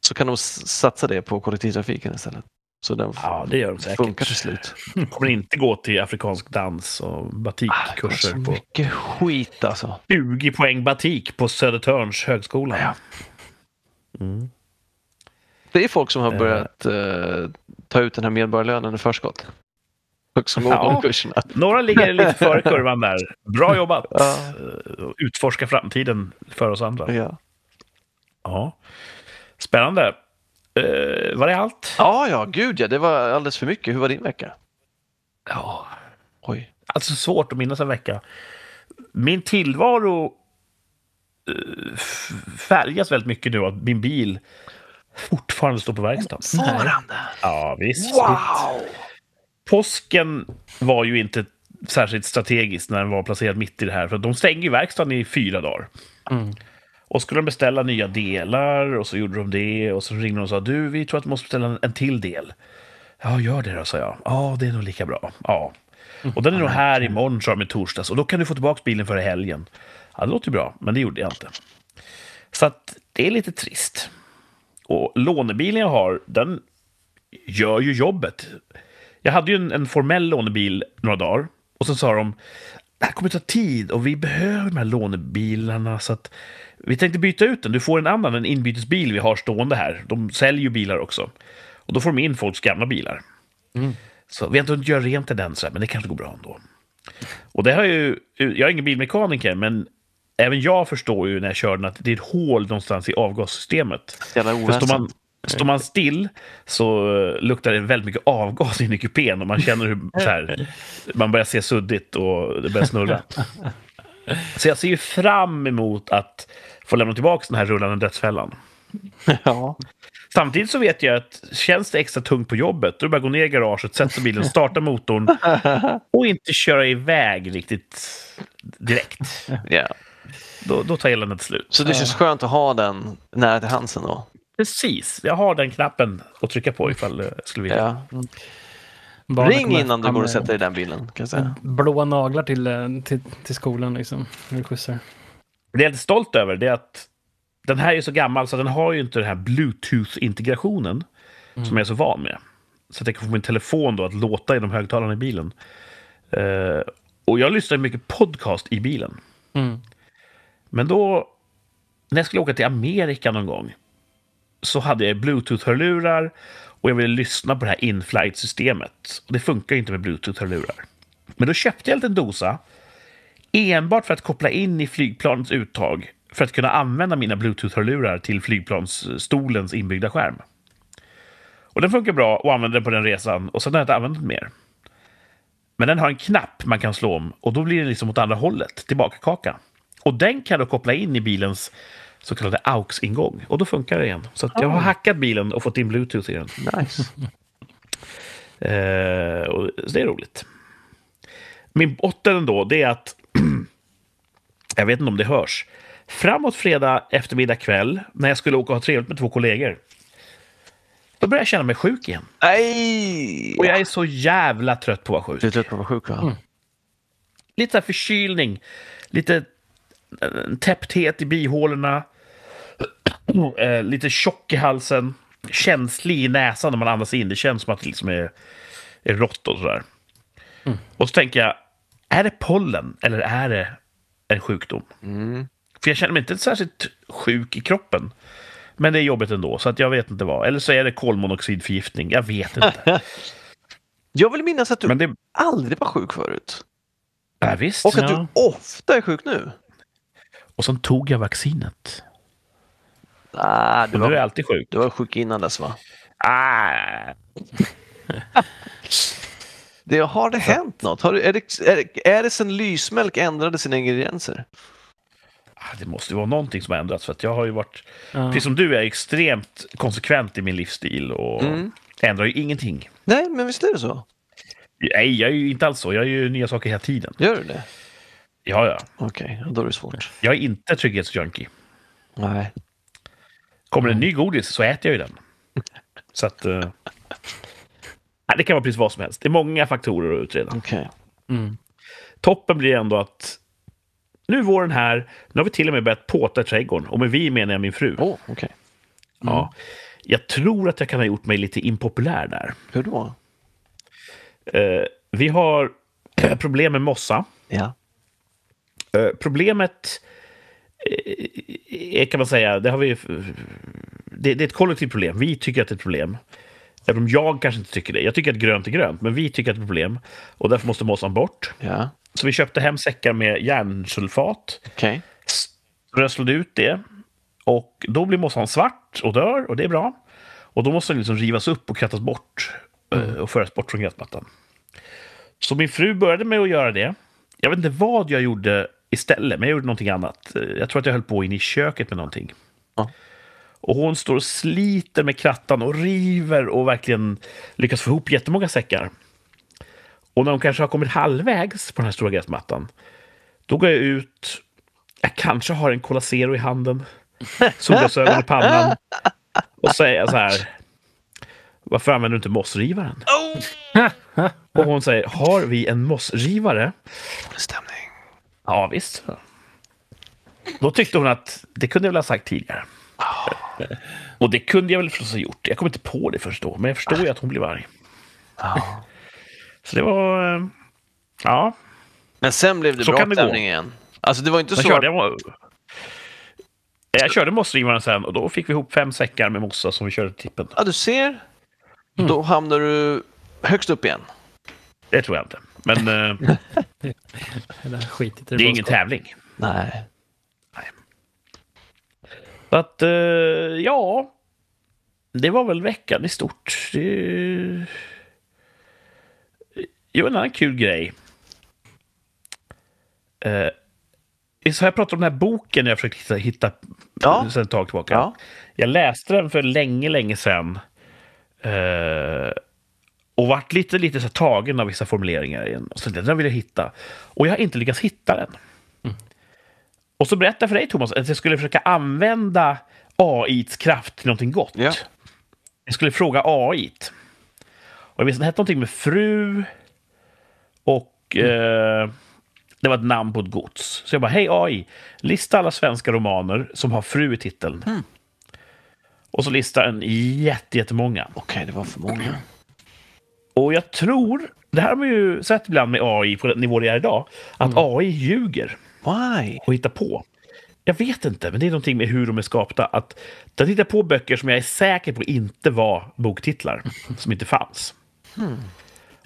S3: Så kan de s- satsa det på kollektivtrafiken istället. Så den f-
S1: Ja, det gör de säkert.
S3: funkar till slut.
S1: Kommer inte gå till afrikansk dans och
S3: Det kommer så
S1: batikkurser på
S3: mycket skit alltså.
S1: 20 poäng batik på Södertörns högskola.
S3: Ja. Det är folk som har
S1: Eh.
S3: börjat eh, ta ut den här medborgarlönen i förskott. Folk som går
S1: Ja.
S3: ja. kurserna.
S1: Några ligger lite före kurvan där. Bra jobbat!
S3: Ja.
S1: Eh, Utforska framtiden för oss andra.
S3: Ja.
S1: Ja. Spännande. Eh, var det allt?
S3: ja, ja, gud ja, det var alldeles för mycket. Hur var din vecka?
S1: Ja.
S3: Oj.
S1: Alltså svårt att minnas en vecka. Min tillvaro eh, f- färgas väldigt mycket nu av att min bil fortfarande står på verkstaden.
S3: Farande!
S1: Ja, visst.
S3: Wow!
S1: Påsken var ju inte särskilt strategisk när den var placerad mitt i det här. För de stänger ju verkstaden i fyra dagar.
S2: Mm.
S1: Och skulle de beställa nya delar och så gjorde de det och så ringde de och sa du, vi tror att du måste beställa en- en till del. Ja, gör det då, sa jag. Ja, det är nog lika bra. Ja. Och den är nog här imorgon, sa de i torsdags. Och då kan du få tillbaka bilen före helgen. Ja, det låter ju bra, men det gjorde jag inte. Så att det är lite trist. Och lånebilen jag har, den gör ju jobbet. Jag hade ju en, en formell lånebil några dagar. Och sen sa de, det här kommer ta tid och vi behöver de här lånebilarna. Så att vi tänkte byta ut den. Du får en annan, en inbytesbil vi har stående här. De säljer ju bilar också. Och då får de in folks gamla bilar. Så vi har inte hunnit göra rent i den, så här, men det kanske går bra ändå. Och det har ju, jag är ingen bilmekaniker, men även jag förstår ju när jag kör den att det är ett hål någonstans i avgassystemet.
S3: Jävla
S1: För står
S3: oväsen.
S1: man, står man still så eh, luktar det väldigt mycket avgas in i kupén och man känner hur så här, man börjar se suddigt och det börjar snurra. Så jag ser ju fram emot att få lämna tillbaka den här rullande dödsfällan.
S3: Ja.
S1: Samtidigt så vet jag att känns det extra tungt på jobbet, då är det bara att gå ner i garaget, sätta bilen, starta motorn och inte köra iväg riktigt direkt.
S3: ja.
S1: Då, då tar eländet slut.
S3: Så det känns skönt att ha den nära till handsen då?
S1: Precis, jag har den knappen att trycka på ifall jag skulle vilja.
S3: Ja.
S2: Barnen
S3: Ring
S2: kommer
S3: innan du
S2: fram
S3: går och
S2: med
S3: sätter dig i den bilen. Kan jag säga.
S2: Blåa naglar till, eh, till, till skolan liksom. När du skjutsar.
S1: Det jag är lite stolt över det är att den här är så gammal så den har ju inte den här Bluetooth-integrationen som jag är så van med. Så att jag kan få min telefon då att låta i de högtalarna i bilen. Eh, och jag lyssnar mycket podcast i bilen.
S2: Mm.
S1: Men då, när jag skulle åka till Amerika någon gång, så hade jag Bluetooth-hörlurar och jag ville lyssna på det här inflight-systemet. Och det funkar ju inte med Bluetooth-hörlurar. Men då köpte jag en liten dosa enbart för att koppla in i flygplanets uttag för att kunna använda mina Bluetooth-hörlurar till flygplansstolens inbyggda skärm. Och den funkar bra och använde den på den resan och sen har jag inte använt den mer. Men den har en knapp man kan slå om och då blir den liksom åt andra hållet, tillbaka kaka. Och den kan du koppla in i bilens så kallade AUX-ingång och då funkar det igen. Så att jag har hackat bilen och fått in Bluetooth i den.
S3: Nice.
S1: Eh, och, så det är roligt. Min botten ändå, det är att... jag vet inte om det hörs. Framåt fredag eftermiddag kväll, när jag skulle åka och ha trevligt med två kollegor. Då börjar jag känna mig sjuk igen.
S3: Nej!
S1: Och jag är Mm. så jävla trött på att vara
S3: Du är
S1: sjuk.
S3: trött på att vara sjuk va?
S1: Lite så här förkylning, lite eh, täppthet i bihålorna, eh, lite tjock i halsen, känslig i näsan när man andas in. Det känns som att det liksom är, är rått och sådär.
S3: Mm.
S1: Och så tänker jag, är det pollen eller är det en sjukdom?
S3: Mm.
S1: För jag känner mig inte särskilt sjuk i kroppen. Men det är jobbigt ändå, så att jag vet inte vad. Eller så är det kolmonoxidförgiftning. Jag vet inte.
S3: Jag vill minnas att du
S1: Men det...
S3: aldrig var sjuk förut.
S1: Ja, visst.
S3: Och att
S2: Ja.
S3: du ofta är sjuk nu.
S1: Och sen tog jag vaccinet.
S3: Ah, du,
S1: Och nu är jag
S3: var,
S1: alltid sjuk.
S3: du var sjuk innan dess va?
S1: Ah,
S3: Det, har det hänt något? Har du, är, det, är, det, är det sen lysmjölk ändrade sina ingredienser?
S1: Ah, det måste ju vara någonting som har ändrats. För att jag har ju varit,
S2: Ja.
S1: precis som du, är extremt konsekvent i min livsstil och ändrar ju ingenting.
S3: Nej, men visst är det så?
S1: Nej, jag är ju inte alls så. Jag gör ju nya saker hela tiden.
S3: Gör du det?
S1: Ja, ja.
S3: Okej, ja, då är det svårt.
S1: Jag är inte trygghetsjunkie.
S3: Nej.
S1: Kommer det en ny godis så äter jag ju den. Så att... eh, nej, det kan vara precis vad som helst. Det är många faktorer att utreda.
S3: Okej.
S1: Toppen blir ändå att nu är våren här. Nu har vi till och med börjat påta i trädgården. Och med vi menar jag min fru.
S3: Åh, okej.
S1: Ja. Jag tror att jag kan ha gjort mig lite impopulär där.
S3: Hur då?
S1: Eh, vi har problem med mossa.
S3: Ja.
S1: Eh, problemet eh, är, kan man säga, det, har vi, det, det är ett kollektivt problem. Vi tycker att det är ett problem. Även om jag kanske inte tycker det. Jag tycker att grönt är grönt, men vi tycker att det är ett problem. Och därför måste mossan bort.
S3: Ja.
S1: Så vi köpte hem säckar med järnsulfat,
S3: Okej.
S1: röslade ut det. Och då blir mossan svart och dör, och det är bra. Och då måste den liksom rivas upp och krattas bort eh, och föras bort från gräsmattan. Så min fru började med att göra det. Jag vet inte vad jag gjorde istället, men jag gjorde någonting annat. Eh, Jag tror att jag höll på in i köket med någonting.
S3: Ja.
S1: Och hon står och sliter med krattan och river och verkligen lyckas få ihop jättemånga säckar. Och när hon kanske har kommit halvvägs på den här stora gräsmattan, då går jag ut. Jag kanske har en Cola Zero i handen. solglasögon i pannan och säga så här. Varför använder du inte mossrivaren?
S3: Oh!
S1: Och hon säger, har vi en mossrivare?
S3: Dålig stämning.
S1: Ja, visst. Då tyckte hon att det kunde jag väl ha sagt tidigare. Och det kunde jag väl förstås ha gjort. Jag kom inte på det först då, men jag förstår ju att hon blev arg.
S3: Ja.
S1: Så det var... eh, Ja,
S3: Men sen blev det
S1: Så
S3: bra
S1: kan det gå.
S3: stämning igen. Alltså det var inte
S1: sen
S3: så...
S1: körde jag... Jag körde mossrivaren sen och då fick vi ihop fem säckar med mossa som vi körde till tippen.
S3: Ja, du ser. Då hamnar du högst upp igen.
S1: Det tror jag inte. Men eh,
S2: Eller skitit i
S1: det är
S2: vad
S1: ingen
S2: ska-
S1: tävling.
S3: Nej.
S1: Så att, eh, ja... Det var väl veckan i stort. Det... Jo, en annan kul grej. Eh, så jag pratade om den här boken jag försökte hitta, hitta
S3: Ja.
S1: sen ett tag tillbaka.
S3: Ja.
S1: Jag läste den för länge, länge sedan. Eh, och vart lite, lite så här tagen av vissa formuleringar i den. Och så den där vill jag hitta. Och jag har inte lyckats hitta den. Och så berättade jag för dig, Thomas, att jag skulle försöka använda AIs kraft till någonting gott.
S3: Ja.
S1: Jag skulle fråga AI. t. Och jag visste att den hette någonting med fru och eh, det var ett namn på ett gods. Så jag bara, hej AI, lista alla svenska romaner som har fru i titeln. Och så listar den jätte, jättemånga.
S3: Okej, det var för många.
S1: Och jag tror, det här har man ju sett ibland med AI på den nivå det är idag, att AI ljuger
S3: Why?
S1: och hittar på. Jag vet inte, men det är någonting med hur de är skapta. Att den hittar på böcker som jag är säker på inte var boktitlar, som inte fanns.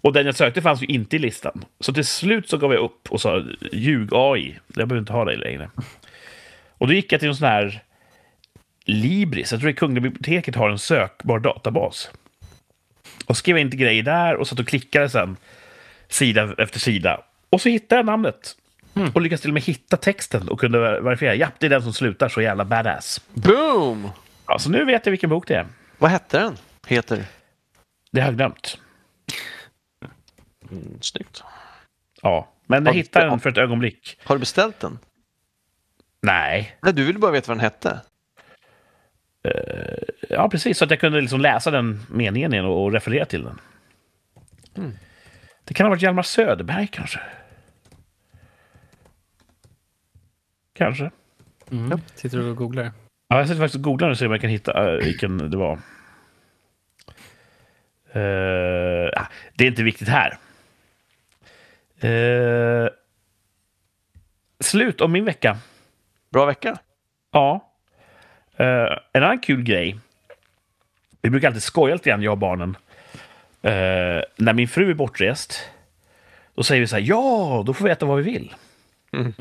S1: Och den jag sökte fanns ju inte i listan. Så till slut så gav jag upp och sa ljug AI, jag behöver inte ha dig längre. Och då gick jag till någon sån här Libris, jag tror det Kungliga biblioteket har en sökbar databas. Och skrev inte grejer där och satt och klickade sen sida efter sida. Och så hittade jag namnet. Och lyckades till och med hitta texten och kunde ver- verifiera. Japp, det är den som slutar så jävla badass.
S3: Boom!
S1: Ja, så nu vet jag vilken bok det är.
S3: Vad hette den? Heter?
S1: Det har jag glömt.
S3: Mm, snyggt.
S1: Ja, men jag
S3: Ja,
S1: hittade
S3: ja.
S1: den för ett ögonblick.
S3: Har du beställt den?
S1: Nej.
S3: Nej, du ville bara veta vad den hette.
S1: Ja, precis. Så att jag kunde liksom läsa den meningen igen och och referera till den. Det kan ha varit Hjalmar Söderberg kanske. Kanske.
S2: Mm. Sitter du och googlar?
S1: Ja, jag sitter faktiskt och googlar nu och ser om jag kan hitta eh, vilken det var. Eh, ah, det är inte viktigt här. Eh, slut om min vecka.
S3: Bra vecka.
S1: Ja. Eh, en annan kul grej. Vi brukar alltid skoja lite grann, jag och barnen. Eh, när min fru är bortrest, då säger vi så här, ja, då får vi äta vad vi vill.
S2: Det är
S1: Och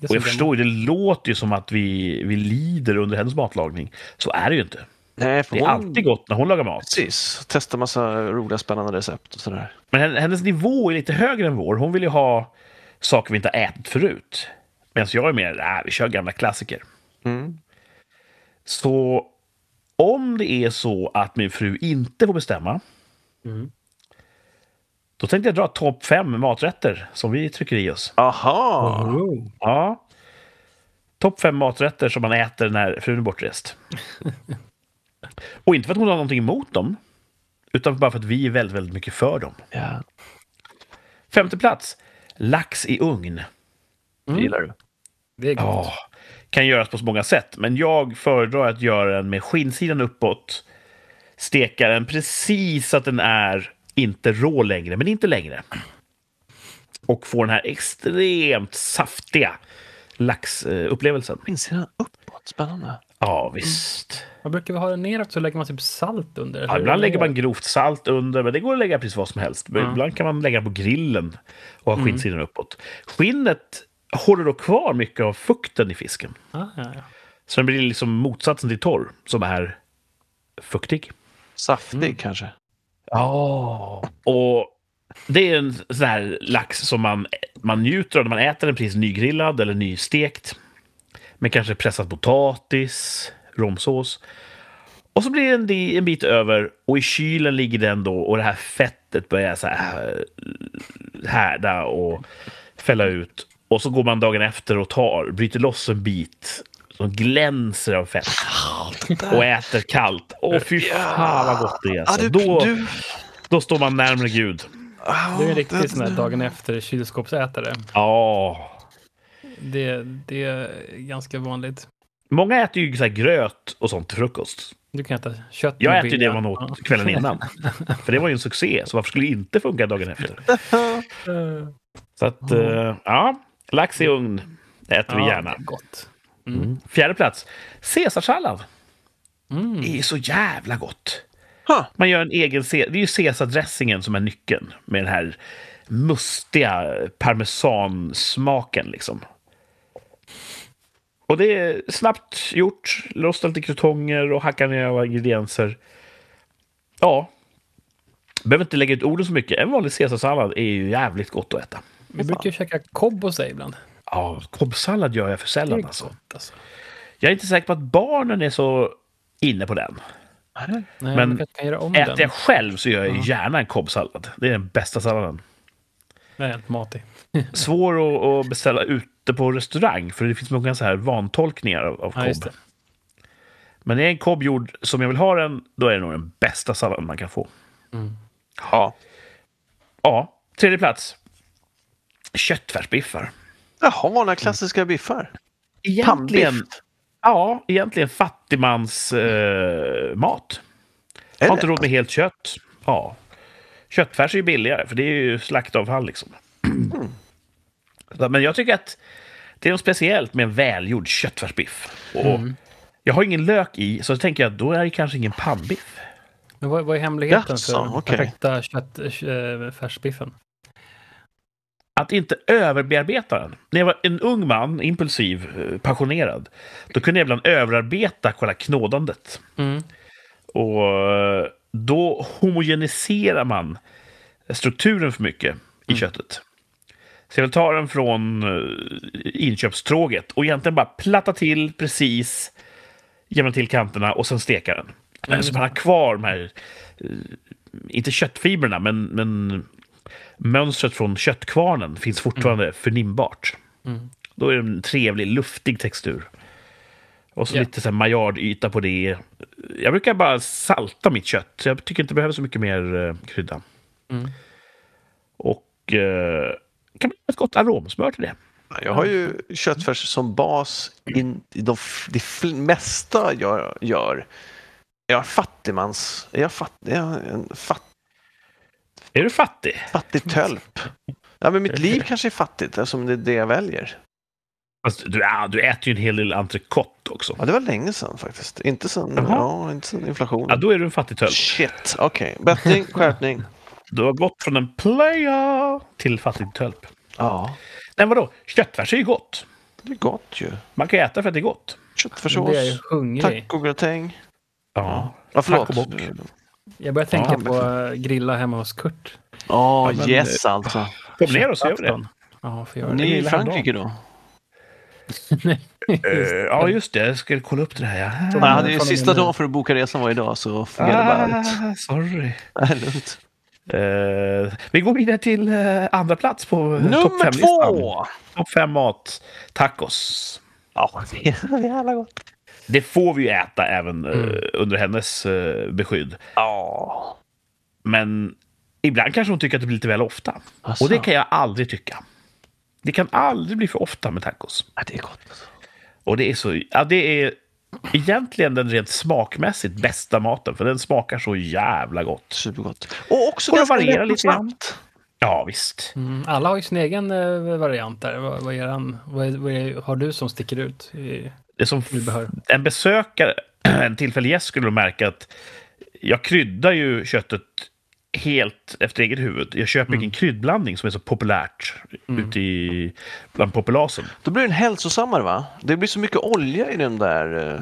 S1: jag
S2: som den-
S1: förstår ju, det låter ju som att vi, vi lider under hennes matlagning. Så är det ju inte.
S3: Nej, för
S1: Det är
S3: hon...
S1: alltid gott när hon lagar mat.
S3: Precis. Testa massa roliga, spännande recept och sådär.
S1: Men hen- hennes nivå är lite högre än vår. Hon vill ju ha saker vi inte har ätit förut. Medan jag är mer, nej, vi kör gamla klassiker.
S3: Mm.
S1: Så om det är så att min fru inte får bestämma,
S2: Mm.
S1: då tänkte jag dra topp fem maträtter som vi trycker i oss.
S3: Aha!
S2: Oh.
S1: Ja. Topp fem maträtter som man äter när frun är bortrest. Och inte för att hon har någonting emot dem, utan bara för att vi är väldigt, väldigt mycket för dem.
S3: Ja,
S1: Femte plats, lax i ugn.
S3: det gillar du.
S2: Det är gott.
S1: Ja, kan göras på så många sätt. Men jag föredrar att göra den med skinnsidan uppåt. Steka den precis så att den är inte rå längre, men inte längre. Och få den här extremt saftiga laxupplevelsen.
S3: Insidan uppåt. Spännande.
S1: Ja, visst.
S2: Man brukar väl ha den neråt så lägger man typ salt under.
S1: Ja, ibland lägger man grovt salt under, men det går att lägga precis vad som helst. Men Ibland kan man lägga på grillen och ha skinnsidan uppåt. Skinnet håller då kvar mycket av fukten i fisken.
S2: Ah, ja, ja.
S1: Så den blir liksom motsatsen till torr, som är fuktig.
S3: Saftig kanske.
S1: Ja. Och det är en sån här lax som man, man njuter av när man äter den precis nygrillad eller nystekt. Med kanske pressad potatis, romsås. Och så blir det en, di- en bit över och i kylen ligger den då och det här fettet börjar så här härda och fälla ut. Och så går man dagen efter och tar, bryter loss en bit som glänser av fett. Och äter kallt. Åh, fy fan vad gott det är.
S3: Ah,
S1: Alltså.
S3: du,
S1: Då,
S3: du,
S1: då står man närmare Gud.
S3: ah,
S2: Du är en riktig sån här dagen efter kylskåpsätare.
S1: Ja.
S2: Det, det är ganska vanligt.
S1: Många äter ju så här gröt och sånt till frukost.
S2: Du kan äta kött
S1: Jag
S2: med
S1: äter ju det
S2: vilja.
S1: man åt kvällen innan. För det var ju en succé, så varför skulle det inte funka dagen efter?
S2: Ja.
S1: Så att, eh, ja. Lax i ugn äter vi
S2: Ja, Mm.
S1: gärna.
S2: det är Gott.
S1: Fjärde plats. Caesarsallad.
S2: Mm.
S1: Det är så jävla gott.
S3: Huh.
S1: Man gör en egen... Ce- Det är ju Caesardressingen som är nyckeln med den här mustiga parmesansmaken. Liksom. Och det är snabbt gjort. Rosta lite krutonger och hacka ner alla ingredienser. Ja. Behöver inte lägga ut orden så mycket. En vanlig caesarsallad är ju jävligt gott att äta.
S2: Vi brukar ju käka cobb och sig ibland.
S1: Ja, kobbsallad gör jag för
S2: Det är
S1: sällan alltså.
S2: gott alltså.
S1: Jag är inte säker på att barnen är så inne på den.
S2: Nej,
S1: Men
S2: men kanske kan göra om den.
S1: Äter jag själv så gör jag gärna en kobbsallad. Det är den bästa salladen.
S2: Det är helt matig.
S1: Svår att, att beställa ute på restaurang för det finns många så här vantolkningar av, av
S2: Ja, just
S1: kobb.
S2: det.
S1: Men är en kobb gjord som jag vill ha den, då är det nog den bästa salladen man kan få.
S3: Ja.
S1: Ja, tredje plats. Köttfärsbiffar.
S3: Jaha, vanliga klassiska biffar.
S1: Egentligen,
S3: Pannbiff.
S1: ja, egentligen fattigmans eh, mat. Har inte
S3: Eller?
S1: råd med helt kött. Ja. Köttfärs är ju billigare, för det är ju slaktavfall liksom. Så, Men jag tycker att det är något speciellt med en välgjord köttfärsbiff. Och Jag har ingen lök i, så tänker jag då är det kanske ingen pannbiff.
S2: Men vad, vad är hemligheten
S3: Jaså,
S2: för den
S3: okej.
S2: perfekta kött, eh, färsbiffen?
S1: Att inte överbearbeta den. När jag var en ung man, impulsiv, eh, passionerad, då kunde jag ibland överarbeta själva knådandet.
S2: Mm.
S1: Och eh, då homogeniserar man strukturen för mycket i köttet. Så jag vill ta den från eh, inköpstråget och egentligen bara platta till precis, jämna till kanterna och sen steka den. Så man har kvar de här, eh, inte köttfibrerna, men, men mönstret från köttkvarnen finns fortfarande förnimbart. Då är det en trevlig, luftig textur. Och så
S2: Ja.
S1: lite så här maillardyta på det. Jag brukar bara salta mitt kött. Jag tycker inte det behöver så mycket mer eh, krydda. Och eh, kan man göra ett gott aromsmör till det.
S3: Jag har ju köttfärs som bas i i de, f- det fl- mesta jag gör. Jag är fattigmans... Jag är, fatt, jag är en fatt,
S1: Är du fattig?
S3: fattig tölp. Ja, men mitt liv kanske är fattigt eftersom det är det jag väljer.
S1: Fast du, ja, du äter ju en hel del entrecote också.
S3: Ja, det var länge sedan faktiskt. Inte sen,
S1: Jaha.
S3: ja, inte sen
S1: Ja,
S3: inflationen.
S1: då är du en fattig töl.
S3: Shit, okej. Bättring, skärpning.
S1: Du har gått från en player till fattig tölp.
S3: Ja,
S1: Nej, vadå? Köttfärs är ju gott.
S3: det är gott ju.
S1: Man kan ju äta för att det är gott.
S2: Det är ju
S3: Köttfärssås,
S2: hungrig.
S3: tacogratäng.
S1: Ja.
S3: Ja, förlåt.
S1: Tacobock.
S2: Jag börjar tänka
S1: Ja,
S2: på eh, grilla hemma hos Kurt.
S3: Ja,
S1: men- eh,
S3: yes alltså.
S1: Kom ner och så gör vi det.
S2: Ja, för jag
S3: Ni är i
S1: gillar han
S3: Frankrike då?
S1: Eh, ja, just det. Jag skulle kolla upp det här.
S3: Nej,
S1: Ja.
S2: Mm,
S3: hade ju
S2: fan,
S3: sista
S2: men-
S3: dagen för att boka resan var idag så fungerade bara ut.
S1: Ah, sorry.
S3: Nej, lugnt.
S1: Eh, vi går vidare till eh, andra plats på eh, topp
S3: Nummer
S1: fem-listan.
S3: två!
S1: Topp fem mat. Tacos.
S3: Ja, det är så jävla gott.
S1: Det får vi ju äta även eh,
S3: Mm.
S1: under hennes eh, beskydd.
S3: Ja.
S1: Men ibland kanske hon tycker att det blir lite väl ofta.
S3: Asså.
S1: Och det kan jag aldrig tycka. Det kan aldrig bli för ofta med tacos.
S3: Ja, det är gott. alltså.
S1: Och det är så... Ja, det är egentligen den rent smakmässigt bästa maten, för den smakar så jävla gott.
S3: Supergott. Och också
S1: Går det att
S3: ganska
S1: variera
S3: lätt och
S1: lite grann?
S3: snabbt.
S1: Ja, visst.
S2: Mm, alla har ju sin egen eh, variant där. Vad, vad, är han, vad, är, vad är, har du som sticker ut? I,
S1: Det är som
S2: Vi behöver.
S1: en besökare, en tillfällig gäst, skulle nog märka att jag kryddar ju köttet helt efter eget huvud. Jag köper ingen kryddblandning som är så populärt ute i, bland populasen.
S3: Då blir den hälsosammare va? Det blir så mycket olja i den där... eh,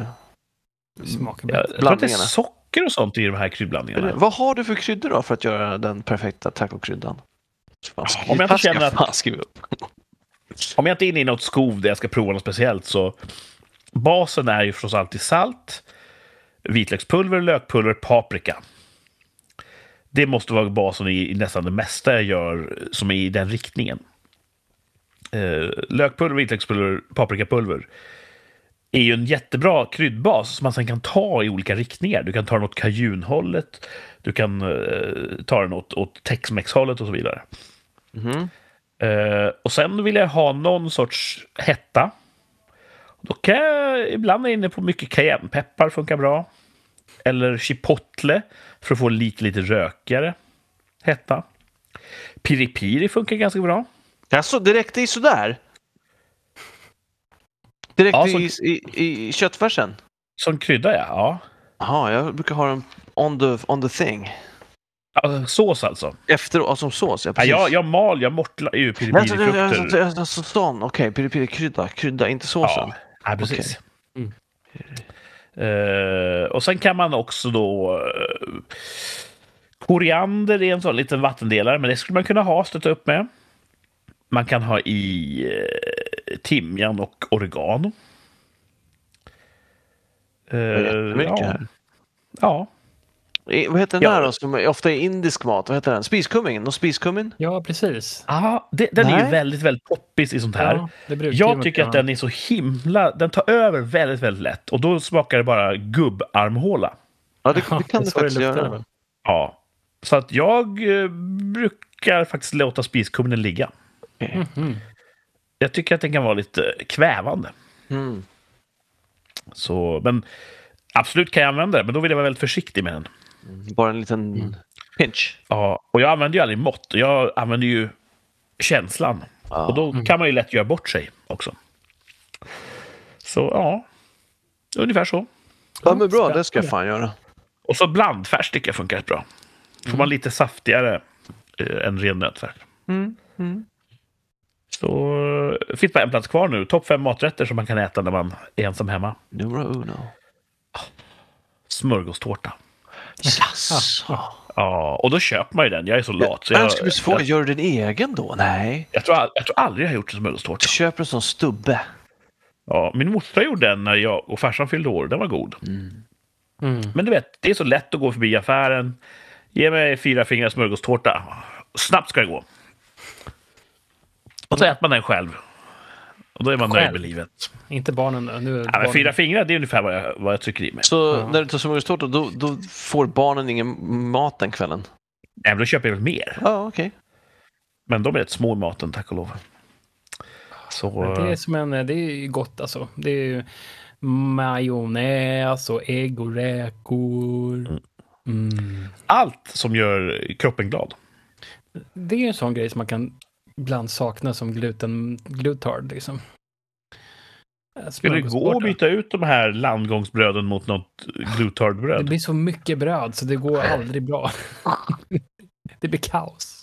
S1: Jag,
S2: smakar bättre.
S1: jag tror att det är
S3: Blandningarna.
S1: socker och sånt i de här kryddblandningarna.
S3: Vad har du för kryddor då för att göra den perfekta tacokryddan? Fan, skriv-
S1: Om jag inte
S3: här ska
S1: känner att-
S3: fan skriva upp.
S1: Om jag inte är inne i något skov där jag ska prova något speciellt så basen är ju förstås alltid salt, vitlökspulver, lökpulver, paprika. Det måste vara basen i i nästan det mesta jag gör som är i den riktningen. Eh, lökpulver, vitlökspulver, paprikapulver. är ju en jättebra kryddbas som man sen kan ta i olika riktningar. Du kan ta den åt cajunhållet, du kan eh, ta den åt, åt texmex-hållet och så vidare.
S3: Mhm.
S1: Eh, och sen vill jag ha någon sorts hetta. Då kan jag ibland vara inne på mycket cayennepeppar, funkar bra. Eller chipotle, för att få lite, lite rökigare hetta. Piri-piri funkar ganska bra.
S3: Jaså, det räckte i sådär? Det räckte
S1: Ja, så-
S3: i, i, i köttfärsen?
S1: Som krydda, ja. ja.
S3: Jaha, jag brukar ha den on the, on the thing.
S1: Alltså, sås alltså.
S3: Efter, ja, som sås, ja
S1: Ja,
S3: precis. alltså,
S1: jag, jag mal, jag mortlar ju
S3: Jag- jag- jag- jag- jag-
S1: piripirifrukter.
S3: jag- jag- alltså, Sån, okej. Piripiri-krydda, krydda, inte såsen.
S1: Ja, ja, precis.
S2: Mm.
S1: Eh, och sen kan man också då... eh, koriander är en sån liten vattendelare, men det skulle man kunna ha, stötta upp med. Man kan ha i eh, timjan och oregano. Eh,
S3: jättemycket
S1: ja.
S3: här.
S1: ja,
S3: I- Vad heter den
S1: Ja.
S3: där då, som är ofta är indisk mat? Vad heter den? Spiskummin? Någon spiskummin?
S2: Ja, precis.
S1: ah, det, den är ju
S3: Nej.
S1: väldigt, väldigt poppis i sånt här.
S2: Ja, det brukar ju
S1: Jag
S2: vara
S1: tycker
S2: bra.
S1: att den är så himla... Den tar över väldigt, väldigt lätt. Och då smakar det bara gubbarmhåla.
S3: Ja, det,
S2: Ja,
S3: det kan
S2: är
S3: det
S2: så
S3: faktiskt
S2: luktar
S3: göra.
S2: väl.
S1: Ja. Så att jag eh, brukar faktiskt låta spiskummen ligga.
S3: Okej.
S1: Jag tycker att den kan vara lite kvävande.
S3: Mm.
S1: Så, men absolut kan jag använda den, men då vill jag vara väldigt försiktig med den.
S3: Bara en liten pinch.
S1: Ja, och jag använder ju aldrig mått. Jag använder ju känslan.
S3: Ja. Mm.
S1: Och då kan man ju lätt göra bort sig också. Så ja, ungefär så.
S3: Ja, men bra. Det ska jag
S2: spännande.
S3: fan göra.
S1: Och så blandfärs tycker jag funkar rätt bra. Får man lite saftigare eh, än ren nötfärs. Så eh, finns bara en plats kvar nu. Topp fem maträtter som man kan äta när man är ensam hemma.
S3: Numero uno.
S1: Smörgåstårta.
S3: Jaså?
S1: Ja, och då köper man ju den. Jag är så lat. Så
S3: Men
S1: jag,
S3: jag skulle bli så fråga, gör du din egen då? Nej.
S1: jag, tror, all- jag tror aldrig jag har gjort en smörgåstårta.
S3: Du köper en sån stubbe.
S1: Ja, min morsa gjorde den när jag och farsan fyllde år. Den var god.
S2: Mm.
S1: Men du vet, det är så lätt att gå förbi affären. Ge mig fyra fingrar smörgåstårta. Snabbt ska det gå. Och så äter man den själv. Och då är man nöjd
S2: Själv?
S1: med livet.
S2: Inte barnen då. Nu är
S1: Ja, men
S2: barnen-
S1: fyra fingrar, det är ungefär vad jag, vad jag trycker i mig.
S3: Så när du tar smörgåstårta, då, då får barnen ingen mat den kvällen?
S1: Nej, men då köper jag väl mer.
S3: Ja, okej.
S1: Men de är rätt små i maten, tack och lov. Så... eh,
S2: Men Det är, som en, eh, det är ju gott alltså. Det är ju majonnäs och ägg och räkor. Mm.
S1: Allt som gör kroppen glad.
S2: Det är ju en sån grej som man kan ibland sakna som gluten, glutard liksom. Eh,
S1: Skulle det gå att
S2: smörgåstårta.
S1: byta ut de här landgångsbröden mot något
S2: Det
S1: glutardbröd?
S2: blir så mycket bröd så det går aldrig bra. det blir kaos.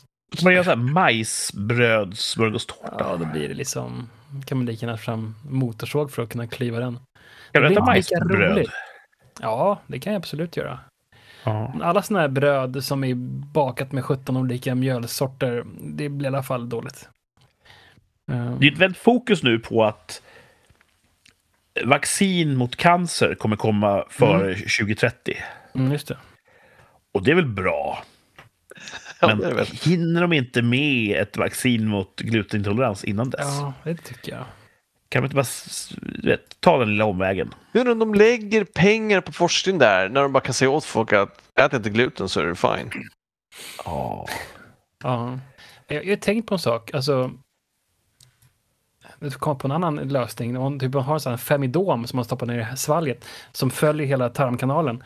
S1: Man gör så här majsbrödssmörgåstårta.
S2: Ja, då blir det liksom... kan man lika gärna fram motorsåg för att kunna klyva den.
S1: Kan du
S2: Det
S1: äta
S2: blir inte lika
S1: majsbröd?
S2: roligt. Ja, det kan jag absolut göra.
S1: Ja.
S2: Alla såna här bröd som är bakat med 17 olika mjölsorter, det blir i alla fall dåligt. Ehm,
S1: Det är ett väldigt fokus nu på att vaccin mot cancer kommer komma före 2030.
S2: mm, just det.
S1: Och det är väl bra.
S3: Ja,
S1: Men
S3: det är det väl.
S1: hinner de inte med ett vaccin mot glutenintolerans innan dess?
S2: Ja, det tycker jag.
S1: Kan man inte bara s- du vet, ta den lilla omvägen?
S3: Jag undrar om de lägger pengar på forskning där när de bara kan säga åt folk att ät inte gluten så är det fine.
S1: Ja.
S2: Ja. Jag jag har tänkt på en sak, alltså. Jag kom på en annan lösning. Om typ man har en sån här femidom som man stoppar ner i svalget som följer hela tarmkanalen.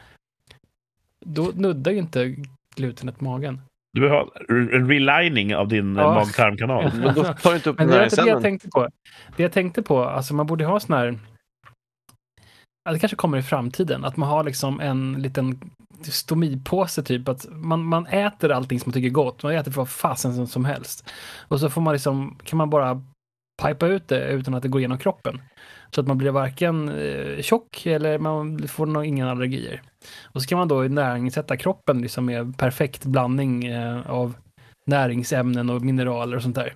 S2: Då nuddar ju inte glutenet magen.
S1: Du behöver ha en relining av din
S2: Ja.
S1: ja. mag-tarmkanal.
S3: Men då tar du inte upp
S2: Men
S3: den
S2: det var
S3: där i
S2: inte det jag
S3: sänden.
S2: tänkte på. Det jag tänkte på, alltså man borde ha sån här... Ja, det kanske kommer i framtiden, att man har liksom en liten stomipåse typ. Att man, man äter allting som man tycker är gott, man äter vad fasen som, som helst. Och så får man liksom, kan man bara pipa ut det utan att det går igenom kroppen. Så att man blir varken eh, tjock eller man får nog inga allergier. Och så kan man då näringssätta kroppen liksom med perfekt blandning eh, av näringsämnen och mineraler och sånt där.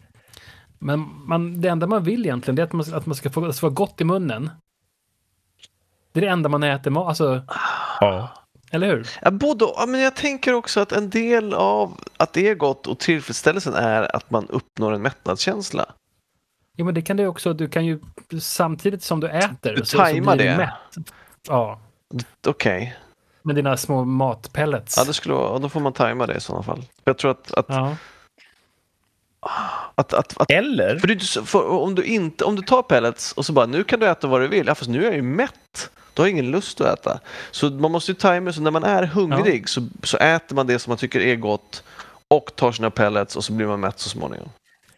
S2: Men man, det enda man vill egentligen det är att man, att man ska få det ska vara gott i munnen. Det är det enda man äter, ma- alltså,
S1: Ja.
S2: eller hur?
S3: Ja, både, ja, men jag tänker också att en del av att det är gott och tillfredsställelsen är att man uppnår en mättnadskänsla.
S2: Jo, men det kan du också. Du kan ju samtidigt som du äter.
S3: Du tajmar
S2: blir du
S3: det.
S2: mätt. Ja,
S3: Okej,
S2: med dina små matpellets.
S3: ja, det skulle vara, ja, då får man tajma det i sådana fall. Jag tror att, att,
S2: Ja.
S3: att, att, att
S1: Eller?
S3: för, det är inte så- för om, du inte, om du tar pellets och så bara nu kan du äta vad du vill, ja, fast nu är jag ju mätt. Då har jag ingen lust att äta. Så man måste ju tajma, så när man är hungrig så, så äter man det som man tycker är gott och tar sina pellets och så blir man mätt så småningom.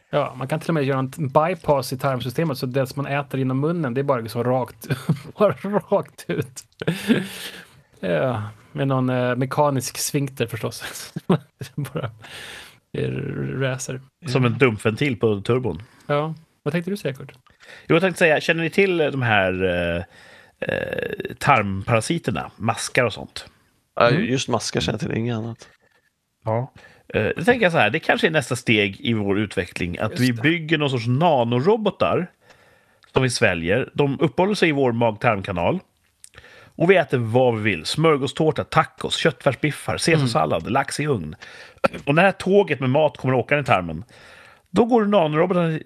S2: Ja, man kan till och med göra en bypass i tarmsystemet så det som man äter genom munnen det är bara liksom rakt, bara rakt ut. ja, med någon eh, mekanisk svinkter förstås. bara eh, räser.
S1: Som en dumpventil på turbon.
S2: Ja, vad tänkte du säga Kurt?
S1: Jo, jag tänkte säga, känner ni till de här eh, eh, tarmparasiterna? Maskar och sånt?
S3: Ja, Just maskar känner jag till, inget annat.
S1: Ja. Eh, då tänker jag så här, det kanske är nästa steg i vår utveckling. Att
S2: Just
S1: vi
S2: det.
S1: bygger någon sorts nanorobotar som vi sväljer. De uppehåller sig i vår mag-tarmkanal. Och vi äter vad vi vill. Smörgåstårta, tacos,
S2: Mm.
S1: köttfärsbiffar, caesarsallad, lax i ugn. Och när det här tåget med mat kommer att åka i tarmen. Då går nanorobotarna,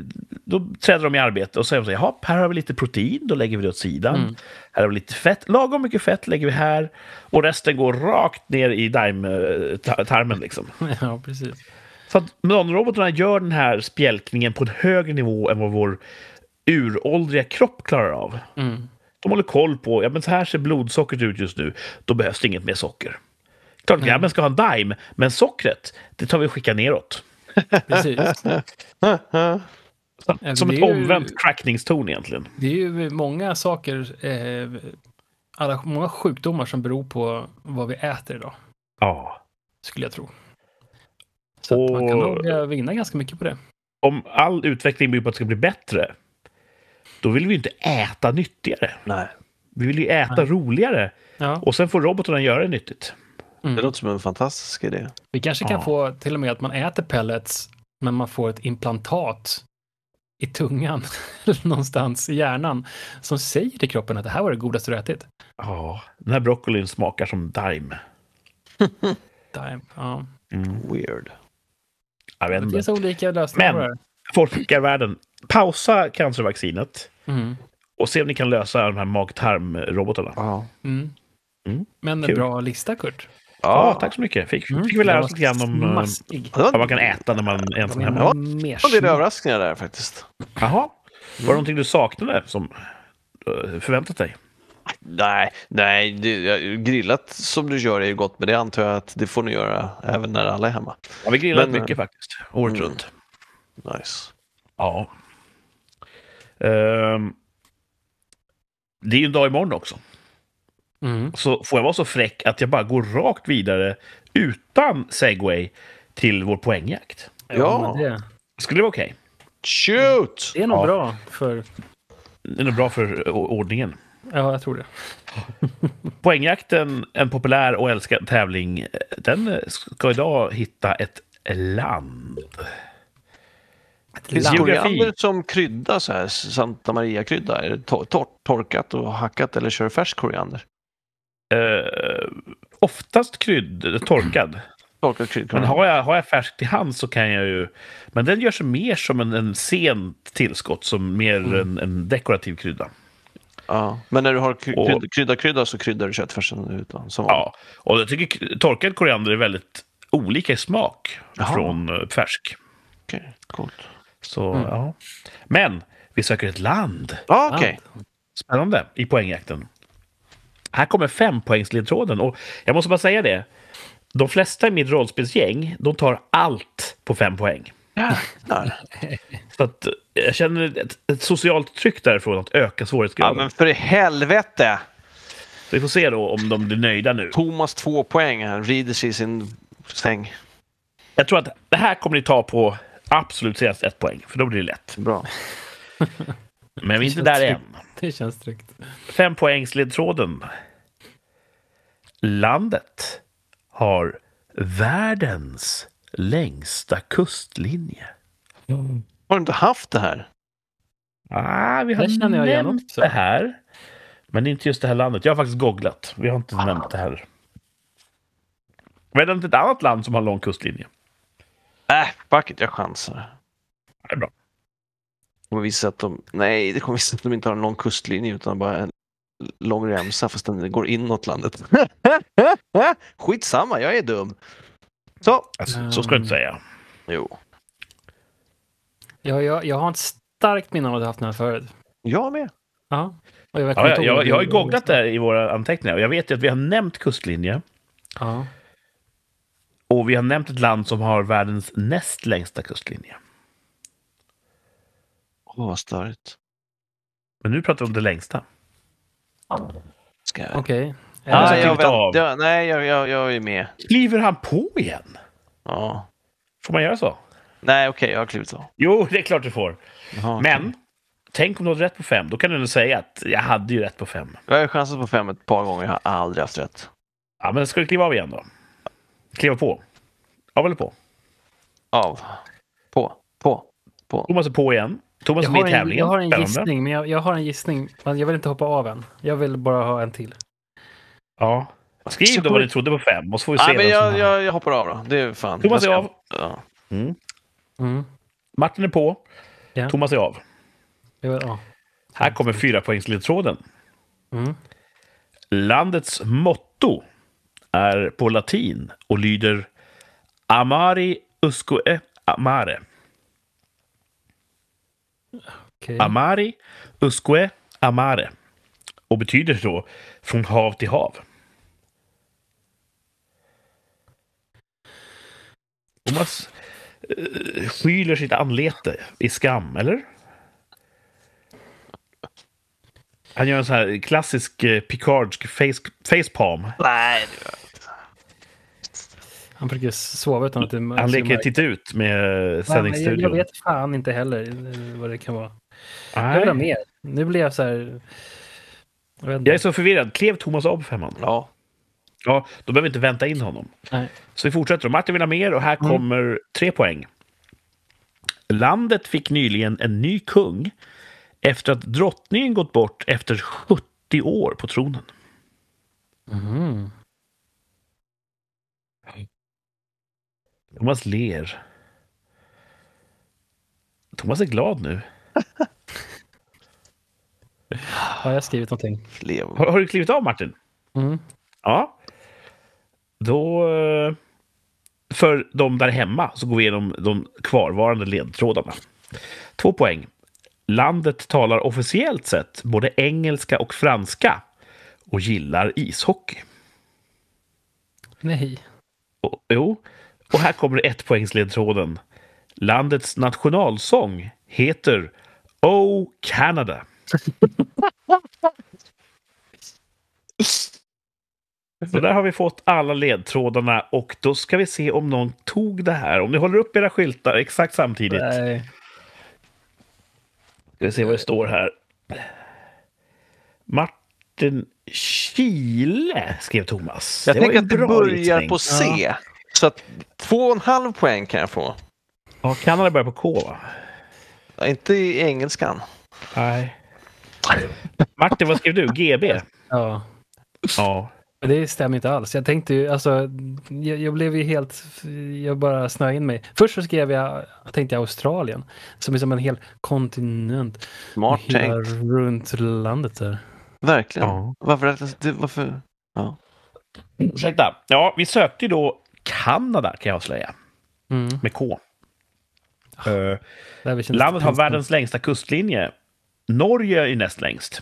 S1: då träder de i arbete och säger så här, "Jaha, här har vi lite protein, då lägger vi det åt sidan.
S2: Mm.
S1: Här har vi lite fett, lagom mycket fett lägger vi här. Och resten går rakt ner i daim, eh, ta- tarmen liksom.
S2: ja, precis.
S1: Så att nanorobotarna gör den här spjälkningen på en högre nivå än vad vår uråldriga kropp klarar av.
S2: Mm,
S1: De håller koll på, ja men så här ser blodsockret ut just nu, då behövs det inget mer socker. Klart
S2: Mm.
S1: grabben ska ha en daim, men sockret, det tar vi och skickar neråt.
S2: precis.
S1: Så,
S2: men
S1: som
S2: det
S1: ett
S2: är ju-
S1: omvänt crackningston egentligen.
S2: Det är ju många saker, eh, alla, många sjukdomar som beror på vad vi äter idag,
S1: Ja.
S2: skulle jag tro. Så att man kan
S1: Och-
S2: nog eh, vinna ganska mycket på det.
S1: Om all utveckling bygger på att det ska bli bättre, då vill vi ju inte äta nyttigare.
S3: Nej.
S1: Vi vill ju äta roligare
S2: Ja. Mm.
S1: och sen får robotarna göra det nyttigt.
S3: Det låter som en fantastisk idé.
S2: Vi kanske kan
S1: Ja.
S2: få till och med att man äter pellets, men man får ett implantat i tungan, eller någonstans i hjärnan, som säger till kroppen att det här var det godaste du ätit.
S1: Ja, den här broccolin smakar som daim.
S2: Damn. Ja.
S3: Weird.
S1: Jag vet
S2: Det
S1: inte.
S2: finns olika lösningar. på
S1: Men-
S2: det
S1: Forskarvärlden, pausa cancervaccinet
S2: här. Mm.
S1: och se om ni kan lösa de här mag-tarm-robotarna. Ja,
S3: Ja.
S2: Mm.
S1: Mm.
S2: Men en
S1: Kul.
S2: bra lista, Kurt.
S1: tack så mycket. Fick,
S2: Mm.
S1: fick vi lära oss
S2: Den
S1: lite grann
S2: var
S1: om eh,
S2: Smaskig.
S3: Det var,
S1: vad man
S3: det
S1: kan äta när man är ensam
S2: Det
S1: hemma.
S2: var
S3: Ja,
S2: en
S3: var en del
S2: mersmak.
S3: överraskningar där faktiskt.
S1: Jaha. Var det
S2: Mm.
S1: någonting du saknade som eh, förväntat dig?
S3: Nej, nej det, jag- grillat som du gör är ju gott, men det antar jag att det får ni göra även när alla är hemma.
S1: Ja, vi grillade
S3: Men, eh,
S1: mycket faktiskt, året
S3: mm.
S1: runt.
S3: Nice.
S1: Ja. Ehm, det är ju en dag imorgon också.
S2: Mm.
S1: Så får jag vara så fräck att jag bara går rakt vidare utan segway till vår poängjakt?
S3: Ja,
S2: men Det,
S1: Skulle det vara okej?
S3: shoot!
S2: det är nog
S1: Ja.
S2: bra för...
S1: Det är nog bra för eh, ordningen.
S2: Ja, jag tror det.
S1: Poängjakten, en populär och älskad tävling, eh, den ska idag hitta ett land.
S2: Land.
S1: Geografi.
S3: Koriander som krydda, så här, Santa Maria-krydda, är det tor- tor- torkat och hackat eller kör färsk koriander?
S1: Eh, oftast krydd, eh, torkad.
S3: Torkad krydd.
S1: Men
S3: koriander.
S1: har jag, har jag färskt till hand så kan jag ju... Men den gör sig mer som en, en sent tillskott, som mer
S3: Mm.
S1: en, en dekorativ krydda.
S3: Ja. men när du har kry-
S1: Och-
S3: krydda, krydda, krydda så kryddar du köttfärsen ut. va? Som
S1: Ja,
S3: vanligt.
S1: och jag tycker k- torkad koriander är väldigt olika i smak
S3: Jaha.
S1: från eh, färsk.
S3: Okej, coolt.
S1: Så,
S3: Mm.
S1: ja. Men vi söker ett land.
S3: Ja, okej.
S1: Spännande i poängjakten. Här kommer fempoängsledtråden. Och jag måste bara säga det. De flesta i mitt rollspelsgäng, de tar allt på fem poäng.
S3: Jävlar.
S1: Så att eh, jag känner ett, ett socialt tryck därifrån att öka
S3: Ja,
S1: svårighetsgraden.
S3: men för i helvete!
S1: Så vi får se då om de blir nöjda nu.
S3: Thomas två poäng. Han rider sig i sin säng.
S1: Jag tror att det här kommer ni ta på absolut senast ett poäng, för då blir det lätt.
S3: Bra.
S1: Men vi är inte där
S2: Känns
S1: än.
S2: Det känns tryggt.
S1: Fem poängsledtråden. Landet har världens längsta kustlinje.
S3: Har du inte haft det här?
S1: Ah, vi
S2: Det
S1: har
S2: känner jag igen
S1: nämnt
S2: också.
S1: det här. Men inte just det här landet. Jag har faktiskt googlat. Vi har inte nämnt det här. Men det är inte ett annat land som har lång kustlinje.
S3: Äh, fuck it, jag chansar.
S1: Det är bra.
S3: kommer visa att de, nej, det kommer visa att de inte har en lång kustlinje utan bara en lång remsa fast den går inåt landet. Skitsamma, jag är dum. Så,
S1: Alltså, så ska du inte
S2: Mm.
S1: säga.
S3: jo.
S2: Jag, jag, jag har ett starkt minne av att jag haft den här förut.
S3: Jag med.
S2: Ja. Och jag, vet
S1: Ja,
S2: inte
S1: jag,
S2: om
S1: jag,
S2: du-
S1: jag har ju googlat där i våra anteckningar och jag vet ju att vi har nämnt kustlinje
S2: Ja.
S1: och vi har nämnt ett land som har världens näst längsta kustlinje.
S3: Åh, vad störigt.
S1: Men nu pratar vi om det längsta.
S3: Ska jag...
S2: Okej.
S1: Ah,
S2: Eh,
S1: ja.
S3: jag
S1: klivit av.
S3: vänt, jag, nej, jag, jag, jag är med.
S1: Kliver han på igen?
S3: Ja.
S1: Får man göra så?
S3: Nej, okej, jag har klivit av.
S1: Jo, det är klart du får.
S3: Jaha,
S1: Men tänk om du hade rätt på fem. Då kan du ändå säga att jag hade ju rätt på fem.
S3: Jag har ju chansat på fem ett par gånger, jag har aldrig haft rätt.
S1: Ja, men ska du kliva av igen då? Kliva på? Av eller på?
S3: Av. På. På. På.
S1: Thomas är på igen. Thomas
S2: Jag
S1: är med
S2: har,
S1: i
S2: en,
S1: tävlingen.
S2: jag har en
S1: Spännande.
S2: gissning, men jag, jag har en gissning. Men jag vill inte hoppa av än. Jag vill bara ha en till.
S1: Ja. Skriv
S3: Så
S1: då
S3: kommer-
S1: vad du trodde på fem, och så får vi se.
S3: Nej, men
S1: vem som-
S3: jag, jag, jag hoppar av då. Det är fan.
S1: Thomas
S3: jag
S1: är
S3: ska- Ja.
S2: Mm.
S1: Martin är på.
S2: Ja.
S1: Thomas är av.
S2: Jag vill, ja.
S1: Här kommer fyra poängsledtråden.
S2: Mm.
S1: Landets motto är på latin och lyder Amari usque amare.
S2: Okej.
S1: Ah, Amari usque amare. Och betyder då från hav till hav. Thomas eh, skyler sitt anlete i skam, eller? Han gör en sån här klassisk eh, Picardsk face, facepalm.
S3: Nej, det var...
S2: Han försöker sova utan att det
S1: Han leker titta ut med eh,
S2: Nej, men jag, jag
S1: sändningsstudion.
S2: vet fan inte heller eh, vad det kan vara. Jag
S1: Nej.
S2: vill ha mer. Nu blir jag så här... Jag vet inte.
S1: Jag är så förvirrad. Klev Thomas av på femman?
S3: Ja.
S1: Ja, då behöver vi inte vänta in honom.
S2: Nej.
S1: Så vi fortsätter. Martin vill ha mer och här kommer tre poäng. Landet fick nyligen en ny kung efter att drottningen gått bort efter 70 år på tronen.
S2: Mhm.
S1: Thomas ler. Thomas är glad nu.
S2: Har jag skrivit någonting?
S3: Lever.
S1: Har, har du klivit av Martin?
S2: Mm.
S1: Ja. Då... eh, För de där hemma så går vi igenom de kvarvarande ledtrådarna. Två poäng. Landet talar officiellt sett både engelska och franska och gillar ishockey.
S2: Nej.
S1: Och, jo, och här kommer ett poängsledtråden. Landets nationalsång heter Oh Canada. Så där har vi fått alla ledtrådarna och då ska vi se om någon tog det här. Om ni håller upp era skyltar exakt samtidigt.
S2: Nej.
S1: Ska vi se vad det står här. Martin Chile skrev Thomas.
S3: Jag
S1: var ju
S3: tänker
S1: en
S3: att det
S1: bra
S3: börjar
S1: gissning.
S3: på C. Så att två och en halv poäng kan jag få.
S1: Ja, Kanada börjar på K va?
S3: Ja, Inte i engelskan.
S1: Nej. Martin, vad skrev du? GB?
S2: Ja.
S1: Ja.
S2: Men Det stämmer inte alls. Jag tänkte ju, alltså, jag, jag blev ju helt, jag bara snöade in mig. Först så skrev jag, tänkte jag Australien, som är som en hel kontinent.
S3: Smart
S2: Hela
S3: tänkt.
S2: runt landet där.
S3: Verkligen.
S1: Ja.
S3: Varför räknas det? Varför? Ja.
S1: Ursäkta. Ja, vi sökte ju då Kanada kan jag avslöja.
S2: Mm. Ah,
S1: Med K. Eh,
S2: Det här känns
S1: landet har
S2: pinsamt.
S1: världens längsta kustlinje. Norge är näst längst.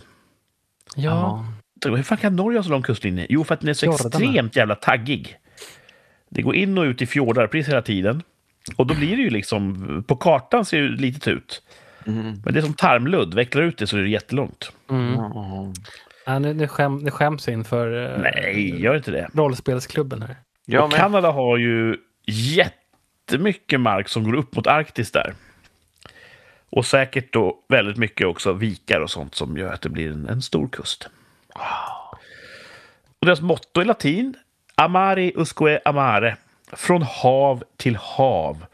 S2: Ja.
S1: Hur fan kan Norge ha så lång kustlinje? Jo, för att den är så
S2: Fjordarna.
S1: extremt jävla taggig. Det går in och ut i fjordar precis hela tiden. Och då blir det ju liksom... På kartan ser det ju litet ut. Men det är som tarmludd. Vecklar ut det så är det jättelångt.
S2: Mm.
S3: Mm.
S2: ja nu, nu, skäm, nu skäms jag inför eh,
S1: Nej, gör inte det.
S2: rollspelsklubben här.
S3: Jag
S1: och
S3: med.
S1: Kanada har ju jättemycket mark som går upp mot Arktis där. Och säkert då väldigt mycket också vikar och sånt som gör att det blir en, en stor kust. Och deras motto i latin, Amari usque amare, från hav till hav.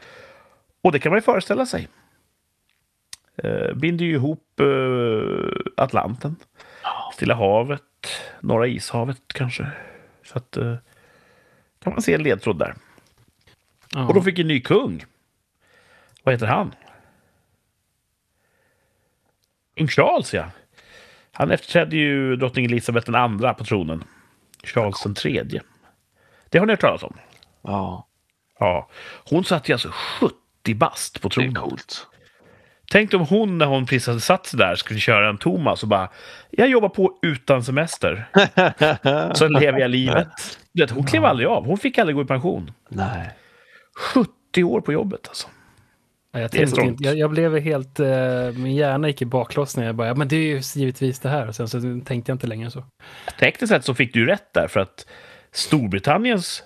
S1: Och det kan man ju föreställa sig. Eh, binder ju ihop eh, Atlanten, Stilla havet, Norra ishavet kanske. Så att... Eh, kan man se en ledtråd där.
S2: Ja.
S1: Och de fick en ny kung. Vad heter han? Kung Charles, ja. Han efterträdde ju drottning Elisabeth den andra på tronen. Charles den tredje. Det har ni hört talas om?
S3: Ja,
S1: Ja. Hon satt ju alltså 70 bast på
S3: det är
S1: tronen.
S3: coolt.
S1: Tänk om hon, när hon precis hade satt sig där, skulle köra en Thomas och bara “Jag jobbar på utan semester, sen lever jag livet”. Du vet, hon klev aldrig av. Hon fick aldrig gå i pension.
S3: Nej.
S1: 70 år på jobbet alltså.
S2: Ja, jag,
S1: Det är
S2: tänkte
S1: strongt.
S2: inte, jag, jag blev helt, eh, min hjärna gick i baklås när jag bara, ja, men det är ju givetvis det här. Och sen så tänkte jag inte längre så.
S1: Tekniskt sett så fick du ju rätt där, för att Storbritanniens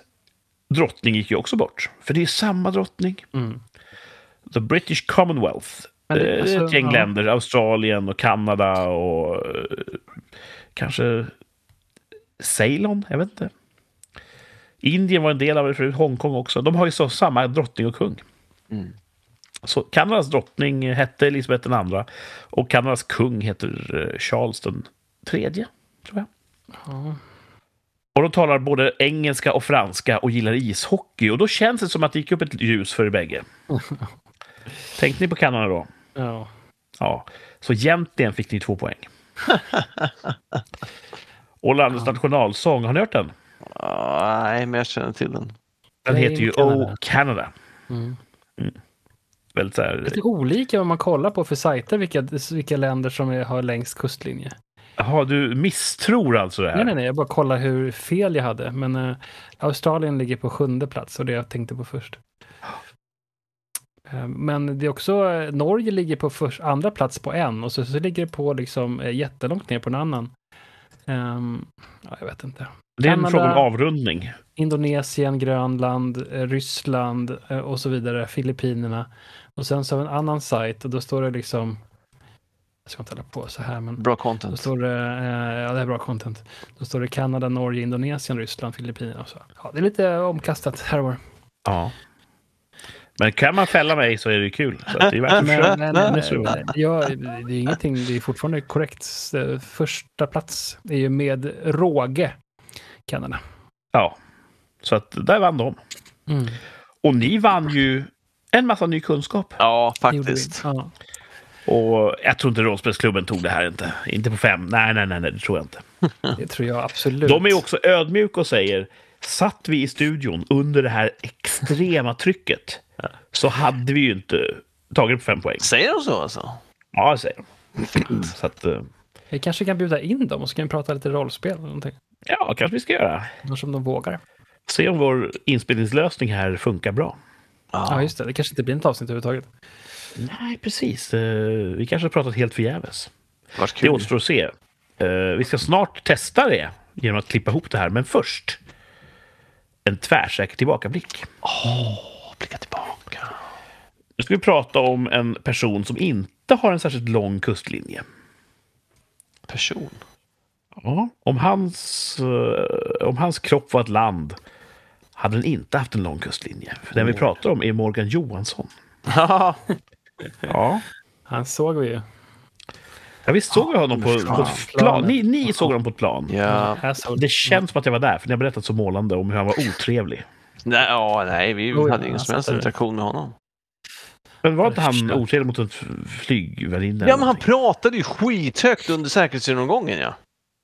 S1: drottning gick ju också bort. För det är samma drottning.
S2: Mm.
S1: The British Commonwealth.
S2: Men det-
S1: Det,
S2: alltså,
S1: ett gäng
S2: ja.
S1: länder, Australien och Kanada och eh, kanske Ceylon, jag vet inte. Indien var en del av det förut, Hongkong också. De har ju så samma drottning och kung.
S3: Mm.
S1: Så Kanadas drottning hette Elisabeth den andra och Kanadas kung heter eh, Charles den tredje, tror jag.
S2: Ja.
S1: Och de talar både engelska och franska och gillar ishockey. Och då känns det som att det gick upp ett ljus för er bägge. Tänkte ni på Kanada då?
S2: Ja.
S1: Ja. Så egentligen fick ni två poäng. Och landets nationalsång, har ni hört den?
S3: Ah, nej, men jag känner till den.
S1: Den
S2: Play
S1: heter ju
S2: Canada.
S1: Oh Canada.
S2: Mm.
S1: Väldigt så här...
S2: Det är olika vad man kollar på för sajter, vilka, vilka länder som är, har längst kustlinje.
S1: Jaha, du misstror alltså det
S2: Nej,
S1: här?
S2: nej, nej, jag bara kollar hur fel jag hade. Men eh, Australien ligger på sjunde plats och det jag tänkte på först. Eh, Men det är också, eh, Norge ligger på först, andra plats på en och så, så ligger det på liksom eh, jättelångt ner på en annan. Ehm, ja, jag vet inte.
S1: Det är en
S2: Kanada.
S1: fråga om avrundning.
S2: Indonesien, Grönland, eh, Ryssland eh, och så vidare, Filippinerna. Och sen så har vi en annan sajt och då står det liksom, jag ska inte hålla på så här men
S3: Bra
S2: då
S3: content.
S2: står det, eh, ja det är bra content. Då står det Kanada, Norge, Indonesien, Ryssland, Filippinerna och så. Ja, det är lite omkastat här och var.
S1: Ja. Men kan man fälla mig så är det ju kul. Så att det är värt att försöka.
S2: Men, men, men jag, det är ingenting, det är fortfarande korrekt. Eh, Första plats är ju med råge Kanada.
S1: Ja. Så att där vann de. Mm. Och ni vann ju en massa ny kunskap.
S3: Ja,
S2: Det gjorde vi.
S3: faktiskt.
S2: Ja.
S1: Och jag tror inte rollspelsklubben tog det här inte. Inte på fem. Nej, nej, nej, nej det tror jag inte.
S2: Det tror jag absolut.
S1: De är också ödmjuka och säger satt vi i studion under det här extrema trycket så hade vi ju inte tagit på fem poäng.
S3: Säger de så alltså?
S1: Ja, säger de. Så att, eh,
S2: Vi kanske kan bjuda in dem och så kan vi prata lite rollspel eller någonting.
S1: ja, kanske vi ska göra.
S2: Annars om de vågar.
S1: Se om vår inspelningslösning här funkar bra.
S2: Ja, just det. Det kanske inte blir något avsnitt överhuvudtaget.
S1: Nej, precis. Eh, Vi kanske har pratat helt förgäves.
S3: Vart
S1: Det
S3: kul.
S1: återstår att se. Eh, Vi ska snart testa det genom att klippa ihop det här, men först en tvärsäker tillbakablick.
S3: Blicka tillbaka.
S1: Nu ska vi prata om en person som inte har en särskilt lång kustlinje.
S3: Person.
S1: Ja. Om, hans, eh, om hans kropp var ett land hade den inte haft en lång kustlinje. För den vi pratar om är Morgan Johansson. Ja.
S2: Han såg vi ju.
S1: ja visst såg jag honom på, på ett plan? Ni, ni såg honom på ett plan.
S3: ja.
S2: Här såg
S1: Det känns som att jag var där, för ni har berättat så målande om hur han var otrevlig.
S3: Nej, ja, nej, vi
S2: Jo, ja,
S3: hade ingen som
S2: han satt
S3: helst
S2: där.
S3: interaktion med honom.
S1: Men var inte han otrevlig mot en f- flygvärdinna?
S3: Ja, men han pratade ju skithögt under säkerhetsgenomgången. Ja.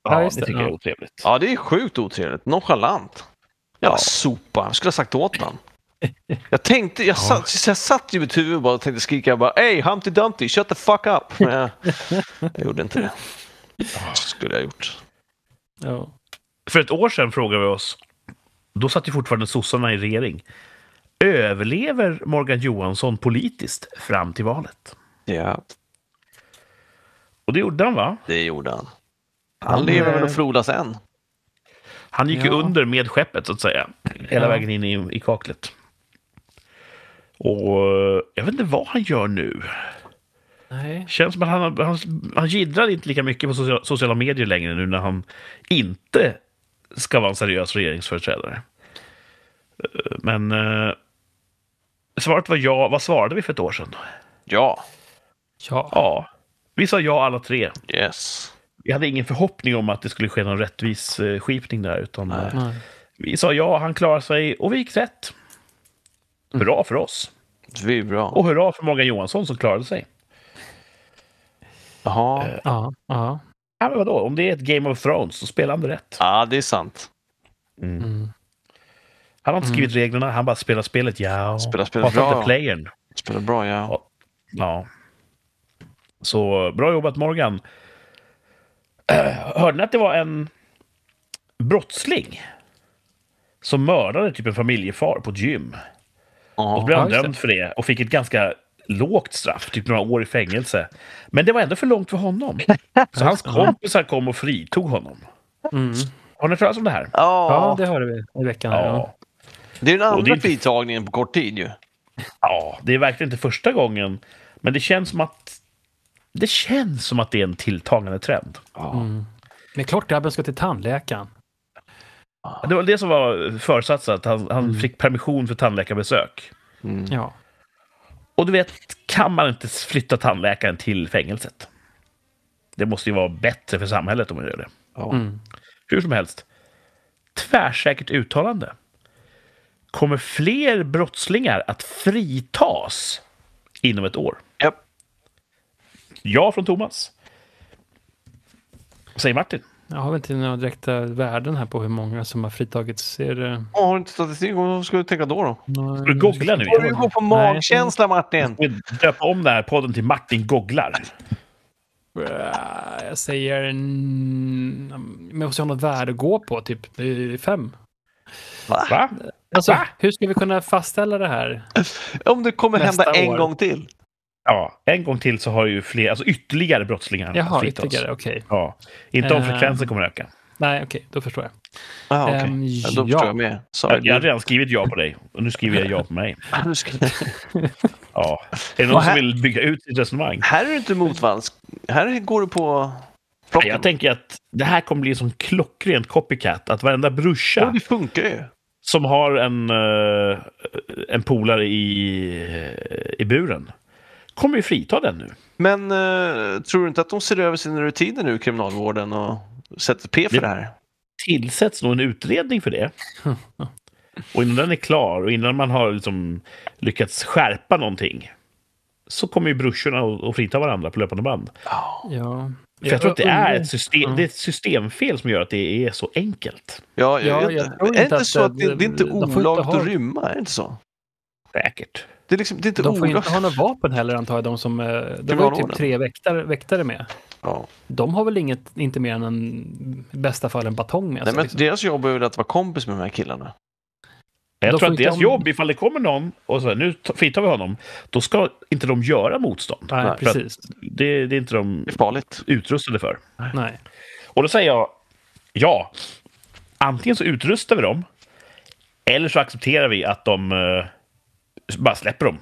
S1: Ja,
S2: Ja,
S1: det
S2: just det.
S1: tycker jag är
S2: Ja.
S1: otrevligt.
S3: ja, det är sjukt otrevligt. Nonchalant. Ja,
S1: Ja.
S3: sopa. Jag skulle ha sagt åt honom. Jag tänkte, jag, satt, så jag satt i mitt huvud och bara tänkte skrika bara Hey Humpty Dumpty, shut the fuck up! Men jag, jag gjorde inte det. Det skulle jag ha gjort.
S2: Ja.
S1: För ett år sedan frågade vi oss, då satt ju fortfarande sossarna i regering. Överlever Morgan Johansson politiskt fram till valet?
S3: Ja,
S1: Och det gjorde han, va?
S3: det gjorde han. Han lever väl och frodas än.
S1: Han gick ju
S2: Ja.
S1: under med skeppet, så att säga. Hela
S2: Ja.
S1: vägen in i, i kaklet. Och eh, jag vet inte vad han gör nu.
S2: Nej.
S1: Känns som att han, han, han gidrar inte lika mycket på sociala, sociala medier längre nu när han inte ska vara en seriös regeringsföreträdare. Eh, Men eh, svaret var ja. Vad svarade vi för ett år sedan?
S3: Ja,
S2: Ja.
S1: Ja, vi sa ja alla tre.
S3: yes.
S1: Vi hade ingen förhoppning om att det skulle ske någon rättvis eh, skipning där, utan
S3: Nej.
S1: eh, vi sa ja, han klarar sig och vi gick rätt. Hurra för oss!
S3: Vi är bra.
S1: Och hurra för Morgan Johansson som klarade sig.
S3: Jaha.
S1: Eh,
S2: Ja, ja.
S1: Ja, men vadå? Om det är ett Game of Thrones så spelar han det rätt.
S3: Ja, det är sant.
S2: Mm.
S1: Han har inte skrivit reglerna, han bara spelar spelet. Ja,
S3: Spelar spelet
S1: Hatar
S3: bra.
S1: inte playern.
S3: Spelar bra, ja.
S1: Ja. Så bra jobbat Morgan. Eh, Hörde ni att det var en brottsling som mördade typ en familjefar på ett gym? Och så
S3: Jaha.
S1: blev han
S2: ja, just
S1: dömd för det och fick ett ganska lågt straff, typ några år i fängelse. Men det var ändå för långt för honom. Så hans kompisar kom och fritog honom.
S2: Mm.
S1: Har ni hört talas om det här?
S2: ja,
S3: Ja,
S2: det hörde vi i veckan. Här, ja.
S3: det är
S1: Och det
S3: den
S1: är
S3: andra
S1: inte-
S3: fritagningen på kort tid ju.
S1: Ja, det är verkligen inte första gången. Men det känns som att det känns som att det är en tilltagande trend.
S2: Mm. Det är klart grabben ska till tandläkaren.
S1: Det var det som var föresatsen, att han, han
S2: Mm.
S1: fick permission för tandläkarbesök.
S3: Mm.
S2: Ja.
S1: Och du vet, kan man inte flytta tandläkaren till fängelset? Det måste ju vara bättre för samhället om man gör det.
S3: Ja.
S2: Mm.
S1: Hur som helst, tvärsäkert uttalande. Kommer fler brottslingar att fritas inom ett år?
S3: Japp.
S1: Ja från Thomas. Säger Martin.
S2: Jag har väl inte några direkta värden här på hur många som har fritagits. Är det...
S3: Ja, Har du inte statistik? Vad ska du tänka då? då?
S2: Ska
S1: du googla nu?
S3: Får du gå på magkänsla, Martin?
S1: Vi döper om den här podden till Martin googlar.
S2: Bra, Jag säger... mm, Men jag måste ha något värde att gå på, typ det är fem.
S3: Va?
S1: Va?
S2: Alltså,
S1: Va?
S2: hur ska vi kunna fastställa det här?
S3: Om det kommer
S2: Nästa
S3: hända en
S2: år.
S3: gång till.
S1: Ja, en gång till så har ju fler, alltså ytterligare brottslingar
S2: Jaha,
S1: fritas.
S2: ytterligare, okej.
S1: Ja, inte om
S2: Ehm.
S1: frekvensen kommer öka.
S2: Nej, okej, då förstår jag.
S3: Ah, okej.
S2: Ehm,
S3: ja, då förstår jag med. Sorry.
S1: Jag, jag har redan skrivit ja på dig och nu skriver jag ja på mig.
S3: Du-
S1: Ja. Är det
S3: Vad
S1: någon som
S3: här-
S1: vill bygga ut sitt resonemang?
S3: Här är du inte motvalls. Här går du på
S1: Nej,
S3: flocken.
S1: Jag tänker att det här kommer bli som klockrent copycat. Att varenda
S3: Ja,
S1: brorsa
S3: det funkar ju.
S1: som har en, eh, en polare i, eh, i buren kommer ju frita den nu.
S3: Men eh, tror du inte att de ser över sina rutiner nu, Kriminalvården, och sätter P för
S1: Det-
S3: det här?
S1: tillsätts nog en utredning för det. Och innan den är klar och innan man har liksom lyckats skärpa någonting så kommer ju brorsorna och, och frita varandra på löpande band.
S2: Ja.
S1: För jag tror att det är,
S2: undrar-
S1: ett system, det är ett systemfel som gör att det är så enkelt.
S3: Ja, jag,
S2: Ja,
S3: vet
S2: jag
S3: inte.
S2: tror
S3: är
S2: inte
S3: det inte
S2: att
S3: så att
S2: det-
S3: det, det är inte
S2: de får inte
S3: olagligt
S2: ha-
S3: att rymma? Är det inte så?
S1: Säkert.
S3: Det är, liksom, det är inte
S2: De får
S3: olagligt.
S2: inte ha några vapen heller antar jag, de som... eh, Det var ju
S3: Kriminalvården.
S2: typ tre väktare, väktare med.
S3: Ja.
S2: De har väl inget, inte mer än en, i bästa fall en batong med
S3: Nej,
S2: sig.
S3: men
S2: liksom.
S3: Deras jobb är väl att vara kompis med de här killarna?
S1: Jag
S2: Då
S1: tror
S2: får
S1: att
S2: inte
S1: deras
S2: de-
S1: jobb, ifall det kommer någon och så här, nu t- fritar vi honom, då ska inte de göra motstånd.
S2: Nej,
S3: Nej,
S2: precis.
S1: Det, det är inte de
S3: Det är farligt.
S1: utrustade för.
S2: Nej.
S1: Och då säger jag ja. Antingen så utrustar vi dem eller så accepterar vi att de eh, bara släpper dem.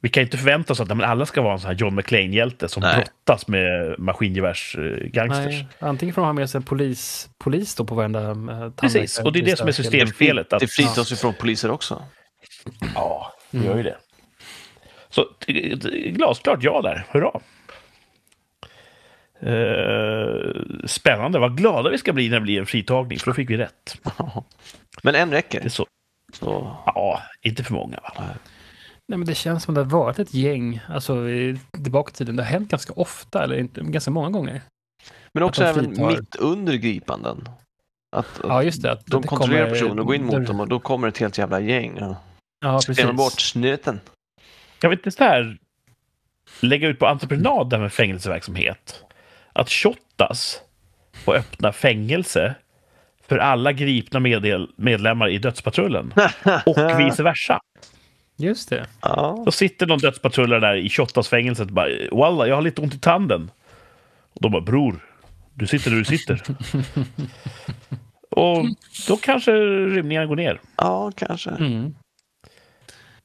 S1: Vi kan inte förvänta oss att nej, men alla ska vara en sån här John McClane-hjälte som
S3: Nej.
S1: brottas med eh, maskingevärs-gangsters.
S2: Nej. Antingen får de ha med sig en polis, polis då på varenda eh, tandläkare.
S1: Precis, och det är det som är systemfelet. Att,
S3: Det fritas ju från poliser också.
S1: ja, det gör ju det. Så t- t- glasklart ja där, hurra! Eh, spännande, vad glada vi ska bli när det blir en fritagning, för då fick vi rätt.
S3: Men en
S1: Det är
S3: räcker.
S1: så.
S3: Så.
S1: Ja, inte för många va?
S2: Nej, men det känns som det har varit ett gäng, alltså i- tillbaka i tiden. Det har hänt ganska ofta, eller inte, ganska många gånger.
S3: Men också
S2: Att de
S3: även
S2: fritar.
S3: mitt under gripanden. Att, att
S2: Ja, just det. Att
S3: de
S2: det
S3: kontrollerar
S2: kommer-
S3: personer och går in mot
S2: det-
S3: dem och då kommer ett helt jävla gäng. Ja.
S2: Ja, precis.
S3: Spelar bort snuten.
S1: Jag vet inte, så här lägga ut på entreprenad det här med fängelseverksamhet. Att shottas och öppna fängelse för alla gripna meddel- medlemmar i dödspatrullen. Och vice versa.
S2: Just det.
S3: Ja.
S1: Då sitter någon dödspatrullare där i shottasfängelset och bara “Walla, jag har lite ont i tanden”. Och de bara “Bror, du sitter där du sitter”. och då kanske rymningarna går ner.
S3: ja, kanske.
S2: Mm.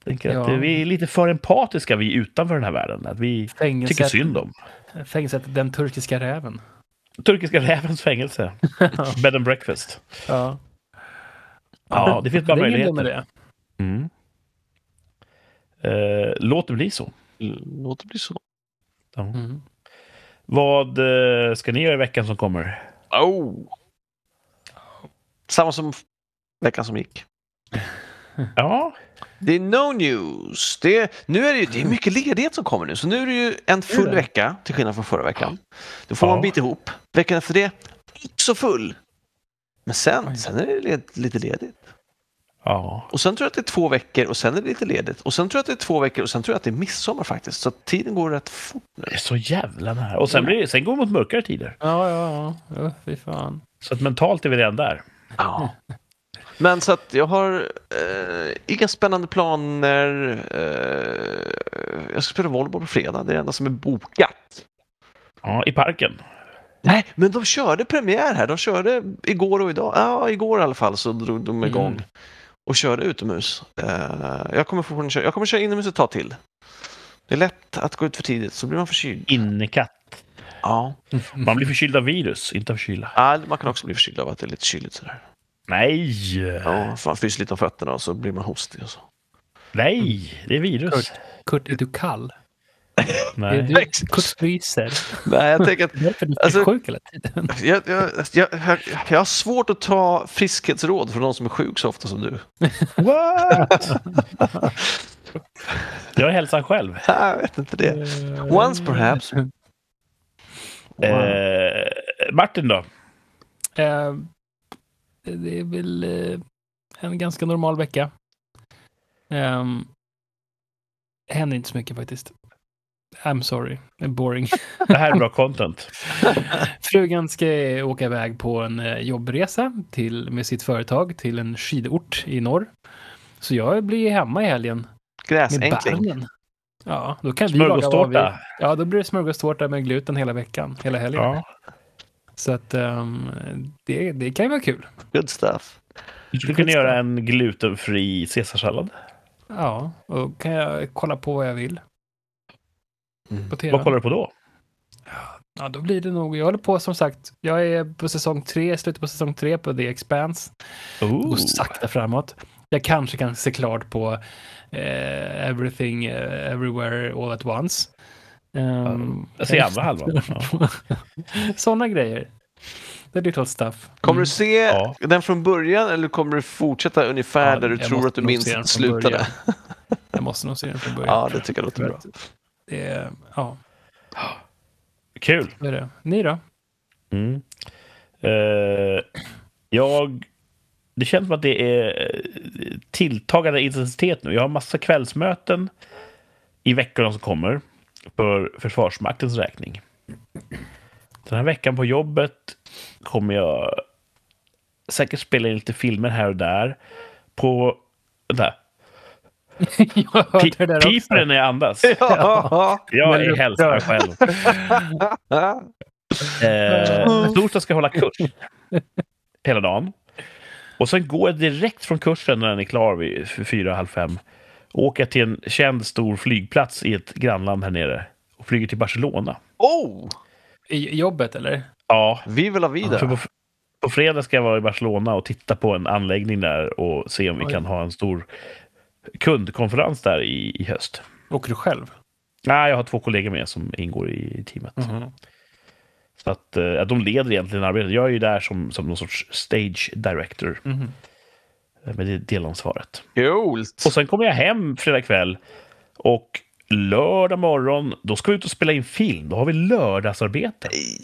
S1: Tänker
S2: Ja.
S1: att eh, vi är lite för empatiska vi utanför den här världen. Att vi tycker
S2: Fängelset,
S1: synd om.
S2: fängelset Den turkiska räven.
S1: Turkiska rävens fängelse. Bed and breakfast.
S2: Ja,
S1: Ja, det finns bara
S2: det är ingen dum
S1: möjligheter.
S2: idé.
S1: Mm. Eh, låt det bli så.
S3: Låt det bli så.
S2: Mm.
S1: Vad eh, ska ni göra i veckan som kommer?
S3: Oh. Samma som veckan som gick.
S1: Ja,
S3: Det är no news. Det är, nu är det, ju, det är mycket ledighet som kommer nu, så nu är det ju en full
S2: det?
S3: vecka till skillnad från förra veckan. Då får man
S1: Ja.
S3: bita ihop. Veckan efter det, också full. Men sen,
S2: Oj.
S3: sen är det led, lite ledigt.
S1: Ja.
S3: Och sen tror jag att det är två veckor och sen är det lite ledigt. Och sen tror jag att det är två veckor och sen tror jag att det är midsommar faktiskt. Så att tiden går rätt fort nu.
S1: Det är så jävla nära. Och sen, blir, det- sen går det mot mörkare tider.
S2: Ja, ja, ja. ja fy fan.
S1: Så att mentalt är vi redan där.
S3: Ja. Men så att jag har eh, inga spännande planer. Eh, jag ska spela volleyboll på fredag. Det är det enda som är bokat.
S1: Ja, I parken.
S3: Nej, men de körde premiär här. De körde igår och idag. Ja, igår i alla fall så drog de igång
S2: Mm.
S3: och körde utomhus. Eh, jag, kommer fortfarande köra, jag kommer köra inomhus ett tag till. Det är lätt att gå ut för tidigt så blir man förkyld.
S1: Innekatt.
S3: Ja,
S1: Man blir förkyld av virus, inte av kyla.
S3: Ja, man kan också bli förkyld av att det är lite kyligt sådär.
S1: Nej!
S3: Ja, för man fryser lite om fötterna och så blir man hostig och så.
S1: Nej, det är virus.
S2: Kurt, är du kall? Är
S1: Nej.
S2: du, Kurt fryser.
S3: Nej, jag tänker att
S2: Därför är du
S3: Alltså-
S2: sjuk hela tiden.
S3: Jag, jag, jag, jag, jag har svårt att ta friskhetsråd från någon som är sjuk så ofta som du.
S1: What? Jag är hälsan själv.
S3: Jag vet inte det. Once perhaps.
S1: Eh, Martin då?
S2: Eh, det är väl eh, en ganska normal vecka. Um, händer inte så mycket faktiskt. I'm sorry, I'm boring.
S1: Det här är bra content.
S2: Frugan ska åka iväg på en eh, jobbresa till, med sitt företag till en skidort i norr. Så jag blir hemma i helgen
S3: Alltså,
S2: med
S3: Gräsänkling.
S2: barnen. Ja, då kan vi laga vad vi...
S1: Smörgåstårta.
S2: Ja, då blir det smörgåstårta med gluten hela veckan, hela helgen.
S1: Ja.
S2: Så att ehm, det, det kan ju vara kul.
S3: Good stuff.
S1: Du skulle kunna göra en glutenfri caesarsallad.
S2: Ja, och kan jag kolla på vad jag vill.
S3: Mm.
S2: På TV.
S1: Vad kollar du på då?
S2: Ja, då blir det nog. Jag håller på som sagt. Jag är på säsong tre, slutet på säsong tre på The Expanse.
S1: Ooh.
S2: Går sakta framåt. Jag kanske kan se klart på eh, Everything, eh, Everywhere, All at Once. Um,
S1: Jag ser andra halvan. Ja.
S2: Sådana grejer. Det är digital stuff.
S3: Kommer du se
S1: Ja.
S3: den från början eller kommer du fortsätta ungefär
S2: Ja,
S3: där du
S2: jag
S3: tror
S2: måste
S3: att du
S2: nog
S3: minns
S2: se den
S3: att det
S2: från början.
S3: slutade?
S2: Jag måste nog se den från början.
S3: Ja, det tycker jag låter bra.
S2: Det är, ja,
S1: Kul.
S2: det är det. Ni då?
S1: Mm. Eh, jag... Det känns som att det är eh, tilltagande intensitet nu. Jag har massa kvällsmöten i veckorna som kommer för Försvarsmaktens räkning. Den här veckan på jobbet kommer jag säkert spela in lite filmer här och där. På... Vänta.
S2: Jag hörde det där också.
S1: Piper när jag andas.
S3: Ja.
S1: Jag
S2: Men
S1: är
S2: upprörd.
S1: hälsan mig själv. Eh, torsdag ska jag hålla kurs hela dagen. Och sen går jag direkt från kursen när den är klar vid f- fyra, halv fem. Och åker till en känd stor flygplats i ett grannland här nere. Och flyger till Barcelona.
S3: Oh!
S2: I jobbet eller?
S1: Ja,
S3: Vi vill ha
S1: för
S3: vidare.
S1: på, på fredag ska jag vara i Barcelona och titta på en anläggning där och se om vi
S2: Oj.
S1: kan ha en stor kundkonferens där i, i höst.
S2: Åker du själv?
S1: Nej, jag har två kollegor med som ingår i teamet. Så att, eh, att de leder egentligen arbetet. Jag är ju där som, som någon sorts stage director
S2: Mhm.
S1: eh, med det delansvaret.
S3: Coolt!
S1: Och sen kommer jag hem fredag kväll och lördag morgon, då ska vi ut och spela in film. Då har vi lördagsarbete.
S3: Nej,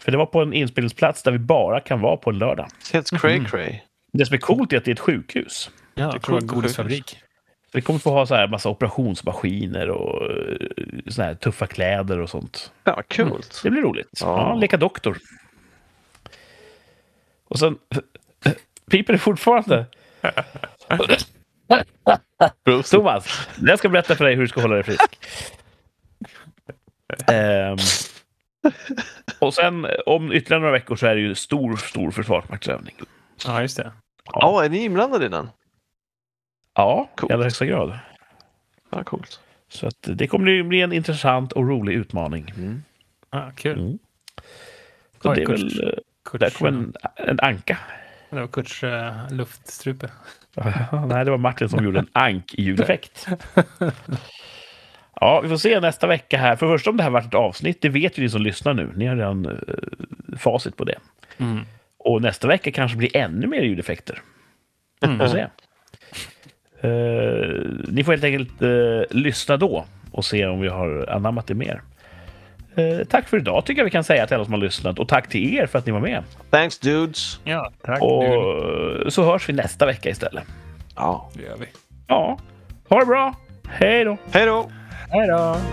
S1: För det var på en inspelningsplats där vi bara kan vara på en lördag.
S3: Helt cray
S2: Mm.
S3: cray.
S1: Det som är coolt är att det är ett sjukhus.
S2: Ja, det
S3: tror
S2: kommer
S3: jag.
S2: godisfabrik.
S1: Vi kommer få ha så här massa operationsmaskiner och eh, såna här tuffa kläder och sånt.
S3: Ja, vad coolt.
S2: Mm.
S1: Det blir roligt.
S3: Ja.
S1: Ja. leka doktor. Och sen piper det fortfarande. Thomas, jag ska berätta för dig hur du ska hålla dig frisk. Ehm, och sen om ytterligare några veckor så är det ju stor, stor försvarsmaktsövning.
S2: Ja, just det.
S3: Ja, är ni inblandade i den?
S1: Ja,
S3: Coolt.
S1: i allra högsta grad.
S3: Ja, coolt.
S1: Så att det kommer ju bli en intressant och rolig utmaning.
S2: Ja, kul.
S1: Mm. Så
S2: Oj,
S1: det är
S2: Kurts,
S1: väl, eh,
S2: Kurts,
S1: där kom en, en anka.
S2: Det var Kurts eh, luftstrupe.
S1: Nej, det var Martin som gjorde en ank-ljudeffekt. Ja, vi får se nästa vecka här. För det första om det här varit ett avsnitt, det vet ju ni som lyssnar nu. Ni har redan eh, facit på det. Och nästa vecka kanske blir ännu mer ljudeffekter. Vi får se. Eh, ni får helt enkelt eh, lyssna då och se om vi har anammat det mer. Eh, tack för idag tycker jag vi kan säga till alla som har lyssnat och tack till er för att ni var med.
S3: Thanks dudes.
S2: Ja, tack.
S1: Och eh, så hörs vi nästa vecka istället.
S3: Ja.
S2: Det gör vi.
S1: Ja, ha det bra. Hej då!
S3: Hej då!
S2: Hej då!